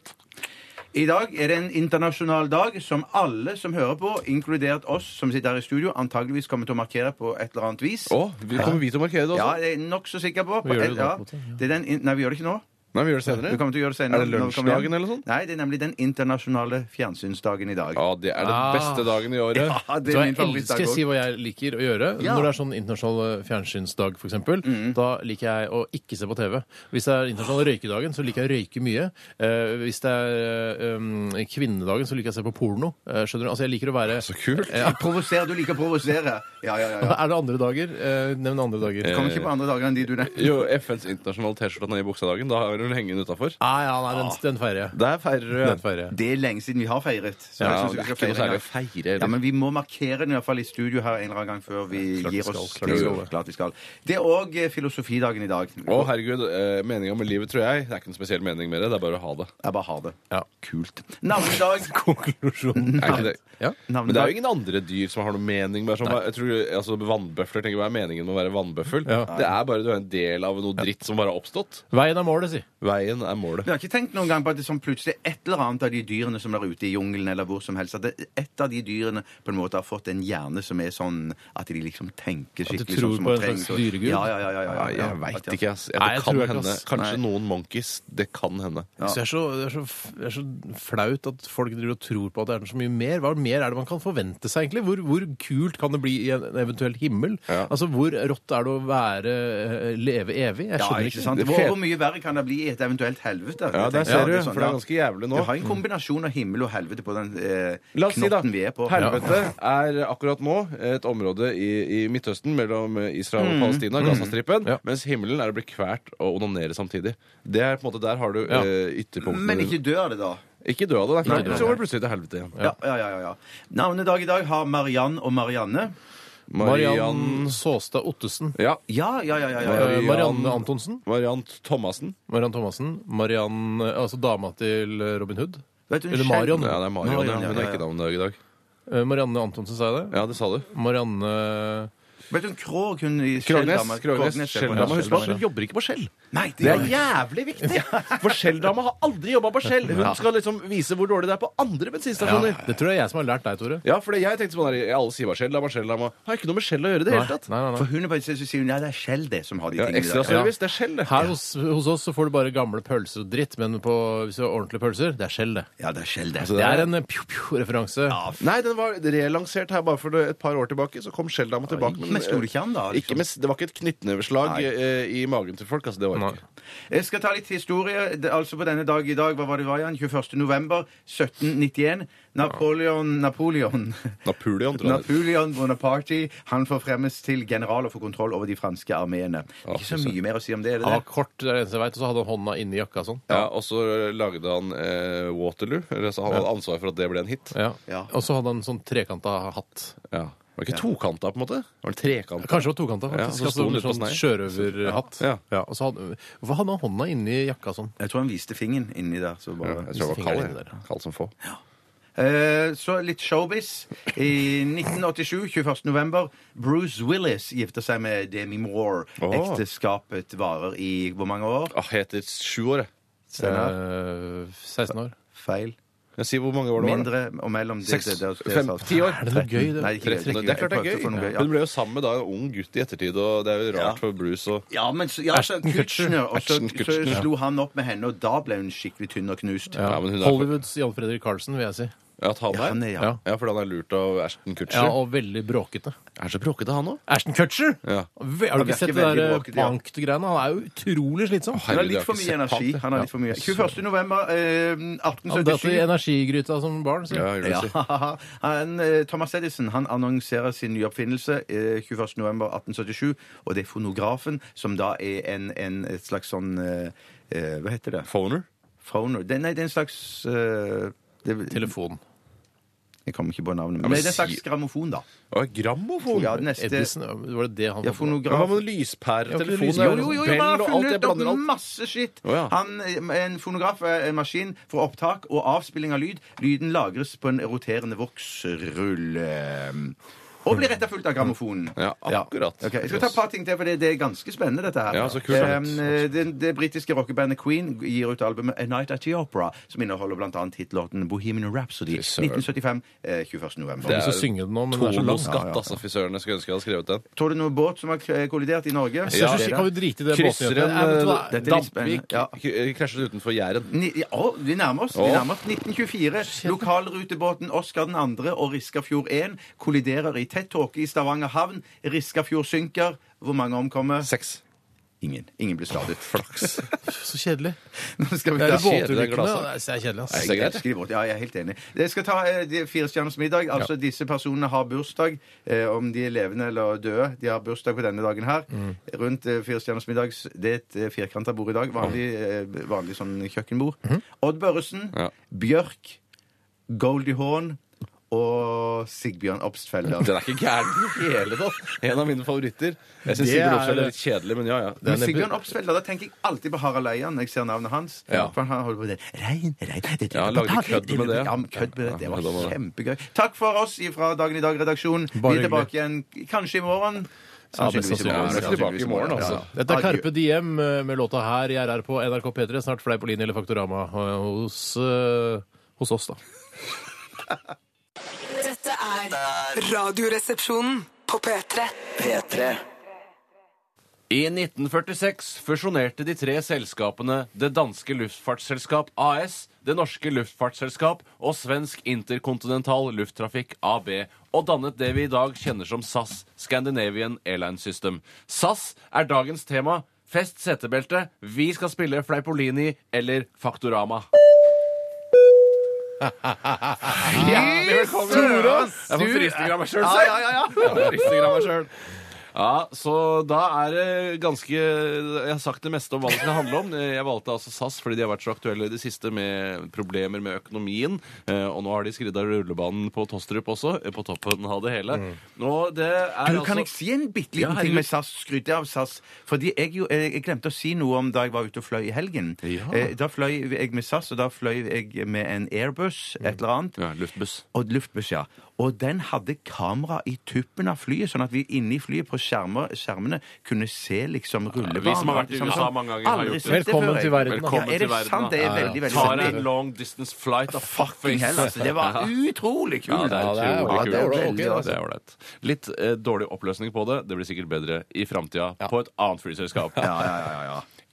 I dag er det en internasjonal dag som alle som hører på, inkludert oss som sitter her i studio, antageligvis kommer til å markere på et eller annet vis. Å, vi kommer vi til å markere det Ja, også? det er jeg nokså sikker på. sånn. Vi gjør det da, ja. på en måte, ja. det er den, in- nei, vi gjør det ikke nå. Nei, vi gjør det senere. Vi kommer til å gjøre det senere. Er det når vi kommer hjem. lunsjdagen eller sånn? Nei, det er nemlig den internasjonale fjernsynsdagen i dag. Ja, det er den Ah. beste dagen i året. Ja, det Så er jeg min favorittdag elsker å si også. hva jeg liker å gjøre. Ja. Mm. Når det er sånn internasjonal eh, fjernsynsdag, f.eks., eksempel da liker jeg å ikke se på TV. Hvis det er internasjonal røykedagen, så liker jeg å røyke mye. Eh, hvis det er eh, um, kvinnedagen, så liker jeg å se på porno. Eh, skjønner du? Altså, jeg liker å være Så kult. Ja. Provosere. Du liker å provosere. Ja, ja, ja. ja. Er det andre dager? Eh, nevn andre dager. Eh, Kommer ikke på andre dager enn de du nevnte. Jo, FNs internasjonale T-skjorte ned i buksa-dagen. Da har hun hengende utafor. Ah, ja, nei, den, den feirer jeg. Der feirer du. Den feirer jeg. Det er lenge siden vi har feiret. Så Ja, jeg synes det vi skal er ikke noe feire en særlig gang. å feire. liksom. Ja, eller? men vi må markere den i hvert fall i studio her en eller annen gang før vi Klart vi gir skal, oss. klart vi Jo, skal. klart vi skal. Det er òg filosofidagen i dag. Å, herregud. Eh, meninga med livet, tror jeg. Det er ikke noen spesiell mening med det. Det er bare å ha det. Jeg bare har det. Ja. Kult. Navnedag. Konklusjon. Er ikke det? Ja. Men det er Navnedag. jo ingen andre dyr som har noen mening. Bare sånn, jeg tror, altså, vannbøfler tenker Hva er meningen med å være vannbøffel? Ja. Det er bare du er en del av noe dritt som bare har oppstått. Veien er målet, si. Veien er målet. Vi har ikke tenkt noen gang på at det sånn plutselig et eller annet av de dyrene som er ute i jungelen eller hvor som helst, at det- et av de dyrene på en måte har fått en hjerne som er sånn at de liksom tenker skikkelig. tror sånn som på man en slags trenger. dyregud? Ja, ja, ja, ja, ja, ja, Nei, ja. jeg veit At- ikke, ass. Ja, Nei, det jeg kan tror ikke, hende. ass. Kanskje Nei. noen monkeys. Det kan hende. Så det, er så, det, er så, det er så flaut at folk driver og tror på at det er så mye mer. Hva mer er det man kan forvente seg, egentlig? Hvor, hvor kult kan det bli i en eventuell himmel? Altså, Hvor rått er det å være eh, leve evig? Jeg Ja, skjønner ikke sant? ikke. Hvor, hvor mye verre kan det bli i et eventuelt helvete? Ja, der Jeg tenker ser du. det er sånn, For ja. det er ganske jævlig nå. Du har en kombinasjon av himmel og helvete på den eh, La oss si, da. knotten vi er på. Helvete er akkurat nå et område i, i Midtøsten mellom Israel og Palestina, Gazastripen, Ja. mens himmelen er å bli kvært og onanere samtidig. Det er på en måte Der har du Ja. eh, ytterpunktene. Men ikke dør det, da. Ikke dø av det, Nei, nei. nei, Så går det plutselig til helvete igjen. Ja, ja, ja, ja, ja. Navnedag i dag har Mariann og Marianne. Mariann Mariann Saastad Ottesen. Ja. Ja, ja, ja. ja, ja, ja. eh, Mariann- Marianne Antonsen. Mariann Thomassen. Mariann Thomassen. Mariann, eh, altså dama til eh, Robin Hood. Vet du, hun Eller skjel- Marion. Ja, det er Marion. Mariann, Ja. Hun ja, er ja, ikke ja. navnet i dag. Eh, Marianne Antonsen, sa jeg det? Ja, det sa du. Marianne Vet du, hun Krog, hun i Krognes. Skjelldammen- Krognes, Krognes, ja, Skjelldama. ja, Husk på at Skjelldammen, hun jobber ikke på Skjell. ja. Nei, det Det er er jævlig viktig! For Skjelldama har aldri jobba på Skjell. Hun skal liksom vise hvor dårlig det er på andre bensinstasjoner. Det tror jeg er jeg som har lært deg, Tore. Ja, for det- jeg tenkte sånn her, alle sier bare Shell, la meg Shell, la meg Har ikke noe med Shell å gjøre i det hele tatt. Nei, nei, nei. For hun er bare, så sier hun, ja, det er Skjell det som har de Ja, tingene ekstra der. service, det er Shell, det. Her hos, hos oss så får du bare gamle pølser og dritt, men på, hvis du har ordentlige pølser, det er skjell, det. Ja, det er Skjell altså, det. Altså, Det er en eh, pjo-pjo-referanse. Nei, den var relansert her bare for et par år tilbake. Så kom Shell-dama tilbake. eh, Men sto det ikke an, da? altså? Ikke med, det var ikke et knyttneveslag liksom. Nei. eh, i magen til folk. Altså, det var det ikke. Jeg skal ta litt historie. Det- Altså På denne dag i dag, hva var det var igjen? 21. november 1791. Napoleon Napoleon Napoleon, tror jeg. Napoleon Bonaparte Han forfremmes til general og får kontroll over de franske armeene. Ikke så mye mer å si om det. er det Han var Ah. det? kort, det er det eneste jeg vet, og så hadde han hånda inni jakka sånn. Ja, og så lagde han eh, Waterloo. Eller, så han hadde ansvar for at det ble en hit. Ja. Ja. Og så hadde han sånn trekanta hatt. Ja. Var det ikke tokanta, på en måte? Var det trekanta? Kanskje det var tokanta. Ja, faktisk. så sto altså, den litt på sånn snei. Sjørøverhatt. Ja. og så hadde, hvorfor hadde han hånda inni jakka sånn? Jeg tror han viste fingeren inni der. Så, bare... Jeg tror det var Fingrene kald, dine jeg. kald som få. Eh, så litt showbiz. I 1987, 21. november, Bruce Willis gifter seg med Demi Moore. Åh. Ekteskapet varer i hvor mange år? Ah, jeg heter sju år, jeg. Steinar? Eh, 16 år. Feil. Jeg sier hvor mange år det var. da. Mindre og mellom det- Seks, det- det- det- fem, det- ti år. Er det noe gøy? Det? Nei, ikke gøy. Tretten år. Det er klart det Jeg prøvde å få noe er gøy, gøy. ja. Hun ble jo sammen med da, en ung gutt i ettertid, og det er jo Ja. rart for Bruce og Ja, men så, ja, så Ashton Kutcher. Kutcher, og så, Ashton så Kutcher, ja. slo han opp med henne, og da ble hun skikkelig tynn og knust. ja. Ja, men hun er- Hollywoods Jan Fredrik Karlsen, vil jeg si. At han Ja, han er er- ja. Ja. Ja, fordi han er lurt av Ashton Ja, Kutcher. Og veldig bråkete. Er så bråkete, han òg. Ashton Kutcher! Ja. Ve- Har du Han ikke sett virker det veldig der eh, bråkete, ja. pankt-greiene? Han er jo utrolig slitsom. Han har litt for mye energi. Han har litt for mye. 21. november eh, Han datt i 1877 energigryta som barn. Så. Ja, gjør det ja, si. han, eh, Thomas Edison han annonserer sin nyoppfinnelse eh, 21. november 1877, og det er fonografen, som da er en, en et slags sånn eh, eh, Hva heter det? Phoner? Phoner? Det, nei, det er en slags eh, det, Telefon. Jeg kommer ikke på navnet. men Men, det er en si- slags grammofon, da. Å, grammofon! Ja, neste Edison, var det det han ja, Men Hva fonograf med lyspære, Ja, ikke telefon lys- det er Jo, jo, jo, bell men han har og alt, jeg funnet opp blander alt. masse skitt. Å, ja. Han, eh, en fonograf er en maskin for opptak og avspilling av lyd. Lyden lagres på en roterende voksrulle. Og blir etterfulgt av grammofonen. Ja, akkurat. Ok, jeg skal ta et par ting til, for det, det er ganske spennende, dette her. Ja, så kult. Eh, det, det britiske rockebandet Queen gir ut albumet A Night At The Opera, som inneholder bl.a. hitlåten Bohemian Rhapsody. Fy søren. 1975, eh, 21. november. lyst til å synge den nå, men den er så Tone og lang. skatt, altså. Fy søren, jeg skulle ønske jeg hadde skrevet den. Tror du noe båt som har eh, kollidert i Norge? Jeg synes ikke- Kan vi drite i det Krysser en, båtnyheten? Dette er litt spennende. Dampvik Ja. K- Krasjet utenfor Jæren. Ni, ja, å, vi nærmer oss. Å. Vi nærmer oss 1924. Lokalrutebåten Oscar 2. og Riskafjord 1 kolliderer i tett tåke i Stavanger havn. Riskafjord synker. Hvor mange omkommer? Seks. Ingen. Ingen blir skadet. Flaks. Så kjedelig. Nå skal vi Det er ta Nei, det kjedelig, det er båtulykkene. gladsak. Det er kjedelig, ass. Nei, det er greit. skriv bort. Ja, jeg er helt enig. Jeg skal ta eh, de Fire stjerners middag. Altså, Disse personene har bursdag, eh, om de er levende eller døde. De har bursdag på denne dagen her. Mm. Rundt eh, Fire stjerners middag Det er et eh, firkanta bord i dag. Vanlig, eh, vanlig sånn kjøkkenbord. Odd Børresen, Mhm. Ja. Bjørk, Goldie Hawn og Sigbjørn Obstfelder. Den er ikke gæren i det hele tatt. En av mine favoritter. Jeg syns Det Sigurd er- Offshell er litt kjedelig, men ja, ja. Men Sigbjørn Obstfelder, da tenker jeg alltid på Harald Eia når jeg ser navnet hans. Ja. For han holder på med det. Rein, rein, det Ja, han lagde kødd med det. Ja, men kødd med det. Det Ja, det var var det. kjempegøy. Takk for oss fra Dagen i dag-redaksjonen. Vi Bare er tilbake igjen kanskje i morgen. Ja, mest Sannsynligvis i morgen. sannsynlig. Vi er tilbake i morgen, Ja. altså. Dette er Adjø. Carpe Diem eh, med låta her i RR på NRK P3. Snart fleip på linje eller Faktorama eh, hos, eh, hos oss, da. Dette er Radioresepsjonen på P3. P3 I 1946 fusjonerte de tre selskapene Det danske luftfartsselskap AS, Det norske luftfartsselskap og Svensk interkontinental lufttrafikk AB, og dannet det vi i dag kjenner som SAS, Scandinavian Airline System. SAS er dagens tema. Fest setebeltet. Vi skal spille Fleipolini eller Faktorama. Hjertelig velkommen! Jeg får frysninger av meg sjøl, Ja, ja, ja, ja. Frysninger av meg sjøl. Ja, så da er det ganske Jeg har sagt det meste om hva det skal handle om. Jeg valgte altså SAS fordi de har vært så aktuelle i det siste med problemer med økonomien. Eh, Og nå har de skrudd av rullebanen på Tostrup også, eh, på toppen av det hele. Og det er Du, kan jeg altså si en bitte Ja, liten herregud. ting med SAS? Skryter av SAS? Fordi jeg, jo, jeg, jeg glemte å si noe om da jeg var ute og fløy i helgen. Ja. Eh, da fløy jeg med SAS, og da fløy jeg med en Airbus, et eller annet. ja, Luftbuss. Og luftbuss, ja. Og den hadde kamera i tuppen av flyet, sånn at vi inne i flyet på skjermer, skjermene kunne se liksom rullebanen. Vi som har vært i Liksom USA sånn. mange ganger har Aldri gjort det. sett det Velkommen før, jeg. til verden, Velkommen ja, er til det verden. sant? Det da. er veldig, veldig Tar en sant. long distance flight av Fucking hell, altså. Det var utrolig Ja, kult. det er Ja, utrolig det er kult. ålreit, ok, Ja, altså. det er ålreit. Litt eh, dårlig oppløsning på det. Det blir sikkert bedre i framtida på et annet flyselskap.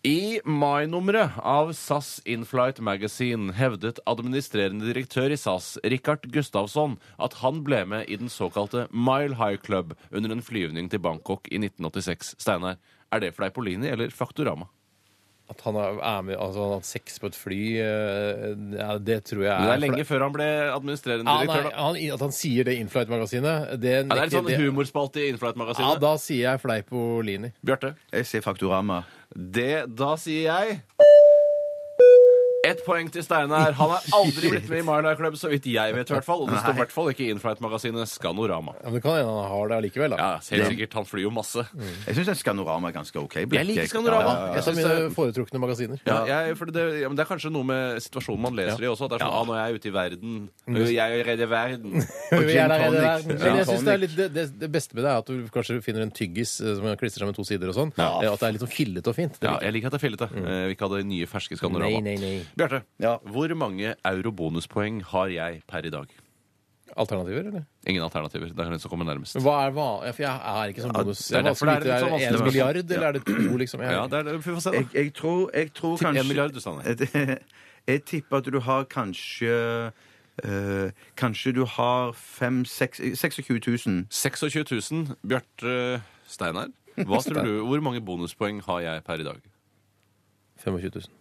I mai-nummeret av SAS Inflight Magazine hevdet administrerende direktør i SAS, Richard Gustavsson, at han ble med i den såkalte Mile High Club under en flyvning til Bangkok i 1986. Steinar, er det Fleipolini eller Faktorama? At han er er med, altså han har hatt sex på et fly, eh, ja, det tror jeg er Men det er lenge før han ble administrerende Ja, nei, direktør, da. han, At han sier det i Inflight-magasinet, det Ja, det er litt nekter- sånn humorspalte i Ja, Inflight-magasinet. da sier jeg Fleipolini. Bjarte? Jeg sier Faktorama. Det, da sier jeg Ett poeng til Steinar. Han er aldri blitt med i Marley Club, så vidt jeg vet. i hvert fall Og det står i hvert fall ikke i Inflight-magasinet Skanorama. Ja, men det kan hende han har det allikevel, da. Ja, helt sikkert. Han flyr jo masse. Jeg syns Skanorama er ganske OK. Black Jeg liker Jack. Skanorama. Ja, ja, ja. Et av mine foretrukne magasiner. Ja, jeg, for det, ja, men det er kanskje noe med situasjonen man leser i også. At det er sånn, ah, nå er jeg ute i verden. Nå er Jeg er redde verden. Vi er der, tonic. er der. Men Gin jeg synes det, er tonic. litt, det, det, det beste med det er at du kanskje finner en tyggis eh, som klistrer seg med to sider og sånn. Eh, At det er litt sånn fillete og fint. Det Ja, liker jeg. jeg liker at det er fillete. Eh, Vi ikke hadde nye ferske Nei, Skanorama. nei, nei. Bjarte, hvor mange eurobonuspoeng har jeg per i dag? Alternativer, eller? Ingen alternativer. Det er den som kommer nærmest. Men Hva er hva? For jeg er ikke sånn bonus. det er Jeg derfor bare så det er vidt, litt sånn en vanskelig. milliard, eller er det to, liksom? Jeg, Ja, det er, vi får se, Jeg, da. jeg tror, jeg tror Tipp en kanskje milliard, du, Steinar. Et- Jeg tipper at du har kanskje eh, Kanskje du har fem, seks, 26 000. 26 000. Bjarte Steinar, hva tror du, hvor mange bonuspoeng har jeg per i dag? 25 000.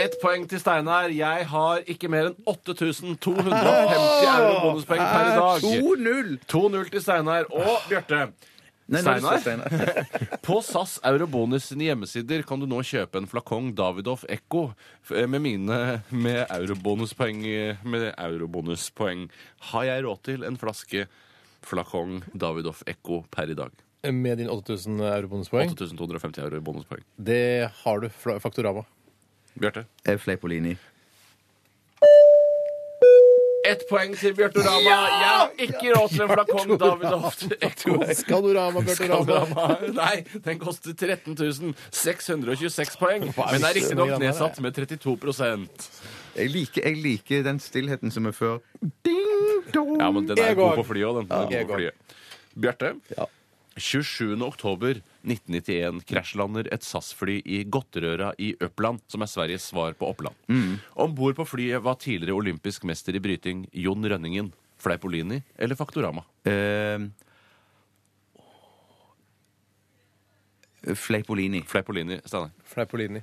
Ett poeng til Steinar. Jeg har ikke mer enn 8250 euro bonuspoeng per i Eh, dag. 2-0! 2-0 til Steinar og Bjarte. Nei, nå er det Steinar? Steinar. På SAS Eurobonus sine hjemmesider kan du nå kjøpe en flakong Davidoff Echo f- eh, med mine med eurobonuspoeng. Med eurobonuspoeng. Har jeg råd til en flaske flakong Davidoff Echo per i dag? Med din 8000 eurobonuspoeng, 8250 euro i bonuspoeng. det har du fra Faktorama. Bjarte? Jeg er Fleipolini. Ett poeng til Bjarte Rama. Jeg har ikke råd til en flakong Davidoff Echo. Skanorama, Bjørtorama. Nei, den koster 13 626 poeng, men er riktignok nedsatt med 32 Jeg liker, jeg liker den stillheten som er før. Ja, men den er Jeg god går. på flyet òg, den. Den er jeg god på går. flyet. Bjarte. 27. oktober 1991 krasjlander et SAS-fly i Gotterøra i Øppland, som er Sveriges svar på Oppland. Om bord på flyet var tidligere olympisk mester i bryting Jon Rønningen, Fleipolini eller Faktorama. Eh, Fleipolini. Fleipolini, Steinar. Fleipolini.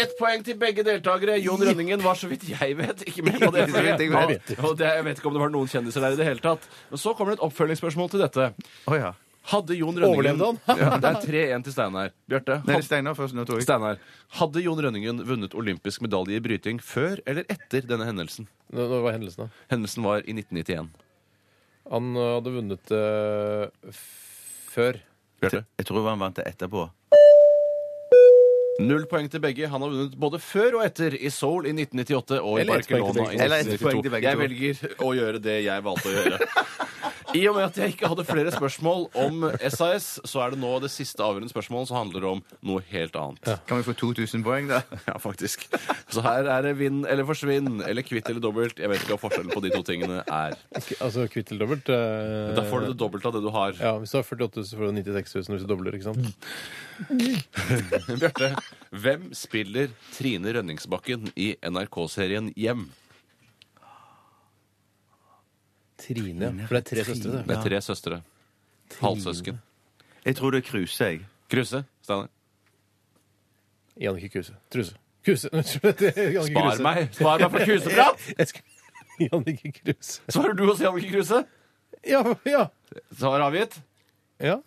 Ett poeng til begge deltakere. Jon Rønningen var så vidt jeg vet ikke med på det. Så vidt jeg vet. Ja, Og det, jeg vet ikke om det var noen kjendiser der i det hele tatt. Men så kommer det et oppfølgingsspørsmål til dette. Å ja. Hadde Jon Rønningen Overlevde han? ja, det er 3-1 til Steinar. Bjarte. Nei, det er had- Steinar først. Nå tror jeg. Steinar, hadde Jon Rønningen vunnet olympisk medalje i bryting før eller etter denne hendelsen? Nå nå var hendelsen, da. Hendelsen var i 1991. Han ø, hadde vunnet ø, f- før. Bjarte? Jeg tror han vant det etterpå. Null poeng til begge. Han har vunnet både før og etter i Seoul i 1998 og i Eller ett poeng til Barcelona begge i to. Eller ett poeng til 1992. begge Jeg to. velger å gjøre det jeg valgte å gjøre. I og med at jeg ikke hadde flere spørsmål om SAS, så er det nå det siste avgjørende spørsmålet som handler om noe helt annet. Kan vi få 2000 poeng, da? Ja, faktisk. Så her er det vinn eller forsvinn, eller kvitt eller dobbelt. Jeg vet ikke hva forskjellen på de to tingene er. K- Altså kvitt eller dobbelt. ø, Da får du det dobbelte av det du har. Ja, Hvis du har 48 000, så får du 96 000 hvis du dobler. ikke Mm. sant? Bjarte, hvem spiller Trine Rønningsbakken i NRK-serien Hjem? Trine. For det er tre søstre. Det er tre søstre. Halvsøsken. Jeg tror det er Kruse, jeg. Kruse. Steinar. Jannicke Kruse. Truse. Kruse. Spar Spar meg Spar meg for kruseprat! Jannicke Kruse. Svarer du også, Jannicke Kruse? Ja, ja. Svar avgitt. ja.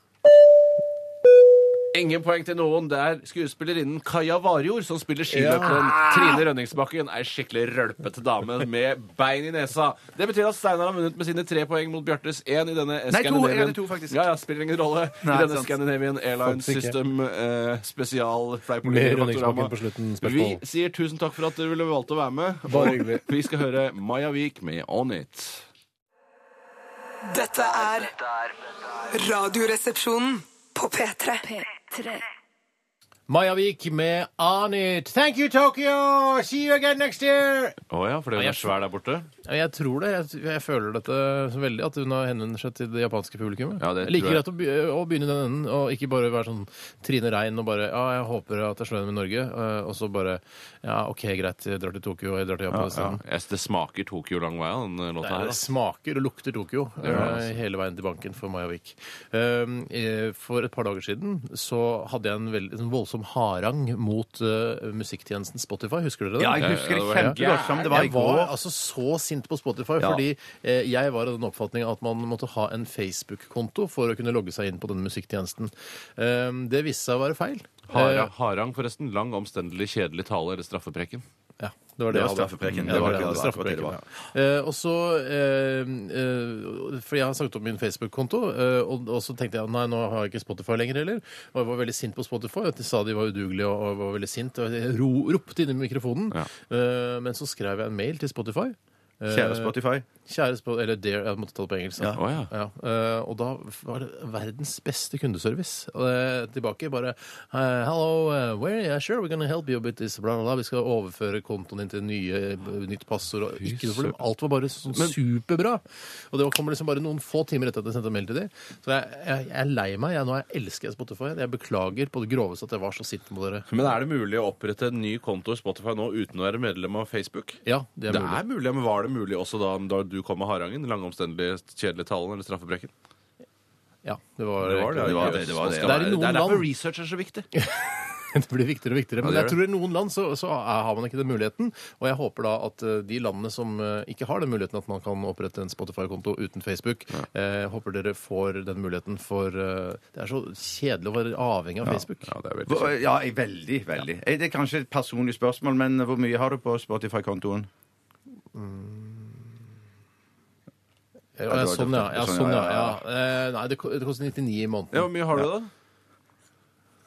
Ingen poeng til noen. Det er skuespillerinnen Kaja Warjord som spiller skiløperen. Trine Rønningsbakken er skikkelig rølpete dame med bein i nesa. Det betyr at Steinar har vunnet med sine tre poeng mot Bjartes én i denne Nei, to. Scandinavian- Jeg hadde to, faktisk. Ja, ja, spiller ingen rolle. Nei, I denne sant. Scandinavian Airlines Faktisk ikke. System eh, spesial Med fleipolitikk. Rønningsbakken på slutten. Vi Spørsmål. sier tusen takk for at dere ville valgt å være med. Bare hyggelig. Vi skal høre Maja Vik med On It. Dette er Radioresepsjonen på P3. Maja Vik med On It. Thank you, Tokyo! See you again next year! Å ja, fordi hun jeg er svær der borte? Ja, Jeg tror det. Jeg, jeg føler dette så veldig, at hun har henvendt seg til det japanske publikummet. Ja, det jeg liker tror jeg. greit å, be, å begynne i den enden, og ikke bare være sånn Trine Rein og bare Ja, jeg håper at jeg slår gjennom i Norge, eh, og så bare Ja, OK, greit, jeg drar til Tokyo, og jeg drar til Japan Ja. isteden. Jeg- Det smaker Tokyo lang vei av den eh, låta her. Det da. smaker og lukter Tokyo gjør det, eh, altså. hele veien til banken for Maja Vik. Um, eh, For et par dager siden så hadde jeg en, veld, en voldsom harang mot eh, musikktjenesten Spotify. Husker dere det? Ja, jeg husker det Ja, det var- kjempegodt som det var i Jeg var går. altså så sint på Spotify, Ja. fordi eh, jeg var av den oppfatning at man måtte ha en Facebook-konto for å kunne logge seg inn på denne musikktjenesten. Eh, det viste seg å være feil. Eh, Hara, harang, forresten. Lang, omstendelig, kjedelig tale eller straffepreken. Ja, det var det, Det var jeg hadde. straffepreken. Ja, Det det var var det, ikke jeg hadde. det, det var akkurat det straffepreken. det Ja. Eh, og så eh, eh, For jeg har sagt opp min Facebook-konto, eh, og, og så tenkte jeg nei, nå har jeg ikke Spotify lenger heller. Og jeg var veldig sint på Spotify. at De sa de var udugelige og, og var veldig sint. Og jeg ro, ropte inn i mikrofonen. Ja. Eh, men så skrev jeg en mail til Spotify. Eh, Kjære Spotify. Kjære Spo- eller Dear, jeg måtte ta det på engelsk. Ja. Å, ja. eh, og da var det verdens beste kundeservice. Eh, tilbake bare eh, Hello, eh, where yeah, sure we're gonna help you with this, bla, bla, bla. Vi skal overføre kontoen din til nye, eh, nytt passord. Og ikke noe problem. Alt var bare sånn superbra. Og det var- kom liksom bare noen få timer etter at jeg sendte mail til dem. Så jeg, jeg, jeg er lei meg. Jeg, nå jeg elsker jeg Spotify. Jeg beklager på det groveste at jeg var så sint mot dere. Men er det mulig å opprette en ny konto i Spotify nå uten å være medlem av Facebook? Ja, det er Det mulig. er mulig, men Var det mulig også da, da du kom med harangen? Lange, omstendelige, kjedelige talen eller straffepreken? Ja, det var, Det var det. egentlig- ja. Det Det er i er- det er noen derfor land. research er så viktig. Det blir viktigere og viktigere. Men det jeg gjør tror i noen land så, så er- har man ikke den muligheten. Og jeg håper da at eh, de landene som eh, ikke har den muligheten at man kan opprette en Spotify-konto uten Facebook, eh, håper dere får den muligheten, for eh, det er så kjedelig å være avhengig av Facebook. Ja, det er veldig Hvor- Ja, jeg- veldig, veldig. Eh, Det er kanskje et personlig spørsmål, men hvor mye har du på Spotify-kontoen? Ja, det var sånn, ja. det. ja, Sånn, sånn, ja, ja, ja. ja. Eh, Nei, det, ko- det koster 99 i måneden. Ja, Hvor mye har du, da?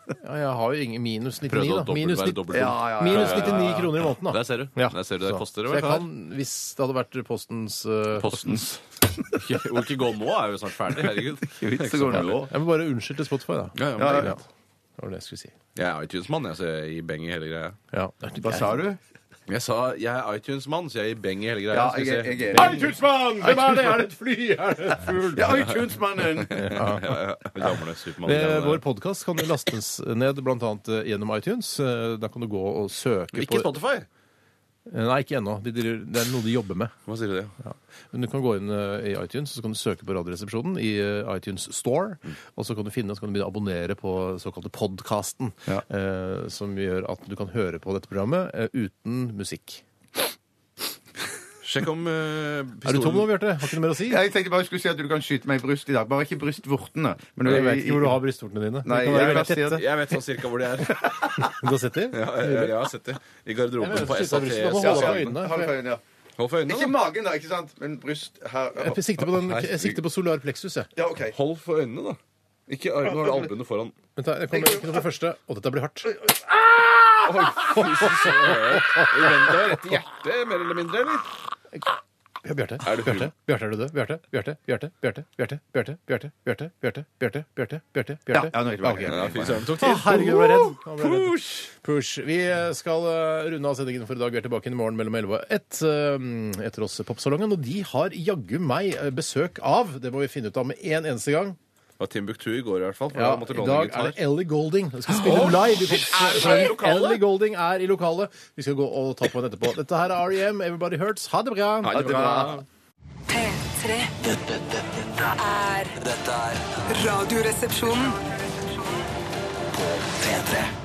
Ja, jeg har jo ingen minus 99, Prøvde å da. dobbelt, Minus, være nitt- dobbelt. Ja, ja, ja, minus ja, ja, 99 kroner i måneden, da. Der ser du. Ja. Der ser du, det Så- koster det, så vet jeg du. kan, Hvis det hadde vært Postens eh, Postens. Ikke- Hvor ikke gå nå, er jo snart ferdig. Herregud. vits å gå nå. Jeg må bare unnskylde til Spotify, da. Ja, ja, men det er greit. Det var det jeg skulle si. Jeg er iTunes-mann, jeg, så jeg gir beng i hele greia. Ja. Hva sa du? Jeg sa jeg er iTunes-mann, så jeg gir beng i hele greia. Ja, Skal vi jeg, se. jeg, jeg er enig. iTunes-mann! Hvem er det? Er det et fly? Er det en fugl? Ja, iTunes-mannen! Ja, ja, ja. Gamle Supermann. Eh, Vår podkast kan lastes ned bl.a. gjennom iTunes. Eh, Da kan du gå og søke Ikke på Eh, Spotify! Nei, ikke ennå. De driver, det er noe de jobber med. Hva sier du det? Ja. Men du kan gå inn eh, i iTunes så kan du søke på Radioresepsjonen i eh, iTunes Store. Mm. Og så kan du finne og så kan du begynne å abonnere på såkalte podkasten. Ja. Eh, som gjør at du kan høre på dette programmet eh, uten musikk. Sjekk om eh, Er du tom nå, pistolen Bjarte? Har ikke noe mer å si? Ja, Jeg tenkte bare jeg skulle si at du kan skyte meg i brystet i dag. Bare ikke brystvortene. Men Jeg vet ikke hvor du har brystvortene dine. det Nei, kan være jeg veldig kan si at- tette. Jeg vet sånn cirka hvor de er. Du har sett dem? Ja, jeg, jeg, har sett det. I garderoben Jeg synes på det er SAT. brystet. Da må Ja, Hold ja, for øynene. hold for øynene, ja. Hold for øynene, Ikke da. magen, da, ikke sant? Men bryst her. Jeg sikter på, den, jeg sikter på solar plexus, jeg. Ja, OK. Hold for øynene, da. Ikke armene, nå har du albuene foran. Vent, da, jeg kommer ikke noe på første. Å, dette blir hardt. Det var rett i hjertet, mer eller mindre, eller? Ja, Bjarte. Er du Bjarte, full? Bjarte, er du død? Bjarte, Bjarte, Bjarte, Bjarte, Bjarte, Bjarte, Bjarte, Bjarte, Bjarte, Bjarte, Bjarte, Bjarte, Bjarte. Ja, nå er jeg tilbake. Ok. Ja, fy søren, det tok Å, tid. herregud, jeg ble redd. Jeg ble redd. Push. Vi eh, skal eh, runde av sendingen for i dag. Vi er tilbake i morgen mellom 11 og 1 eh, etter oss Popsalongen. Og de har jaggu meg eh, besøk av. Det må vi finne ut av med en eneste gang. Det var Timbuktu i går, i hvert fall. for Ja, jeg måtte I låne en dag gitar. er det Ellie Golding. Hun skal spille live. i Popsalongen. Ellie Golding er i lokalet. Vi skal gå og ta på henne etterpå. Dette her er REM, Everybody Hurts. Ha det bra. Ha det bra. P3 Dette, dette, dette, er dette er Radioresepsjonen. P3.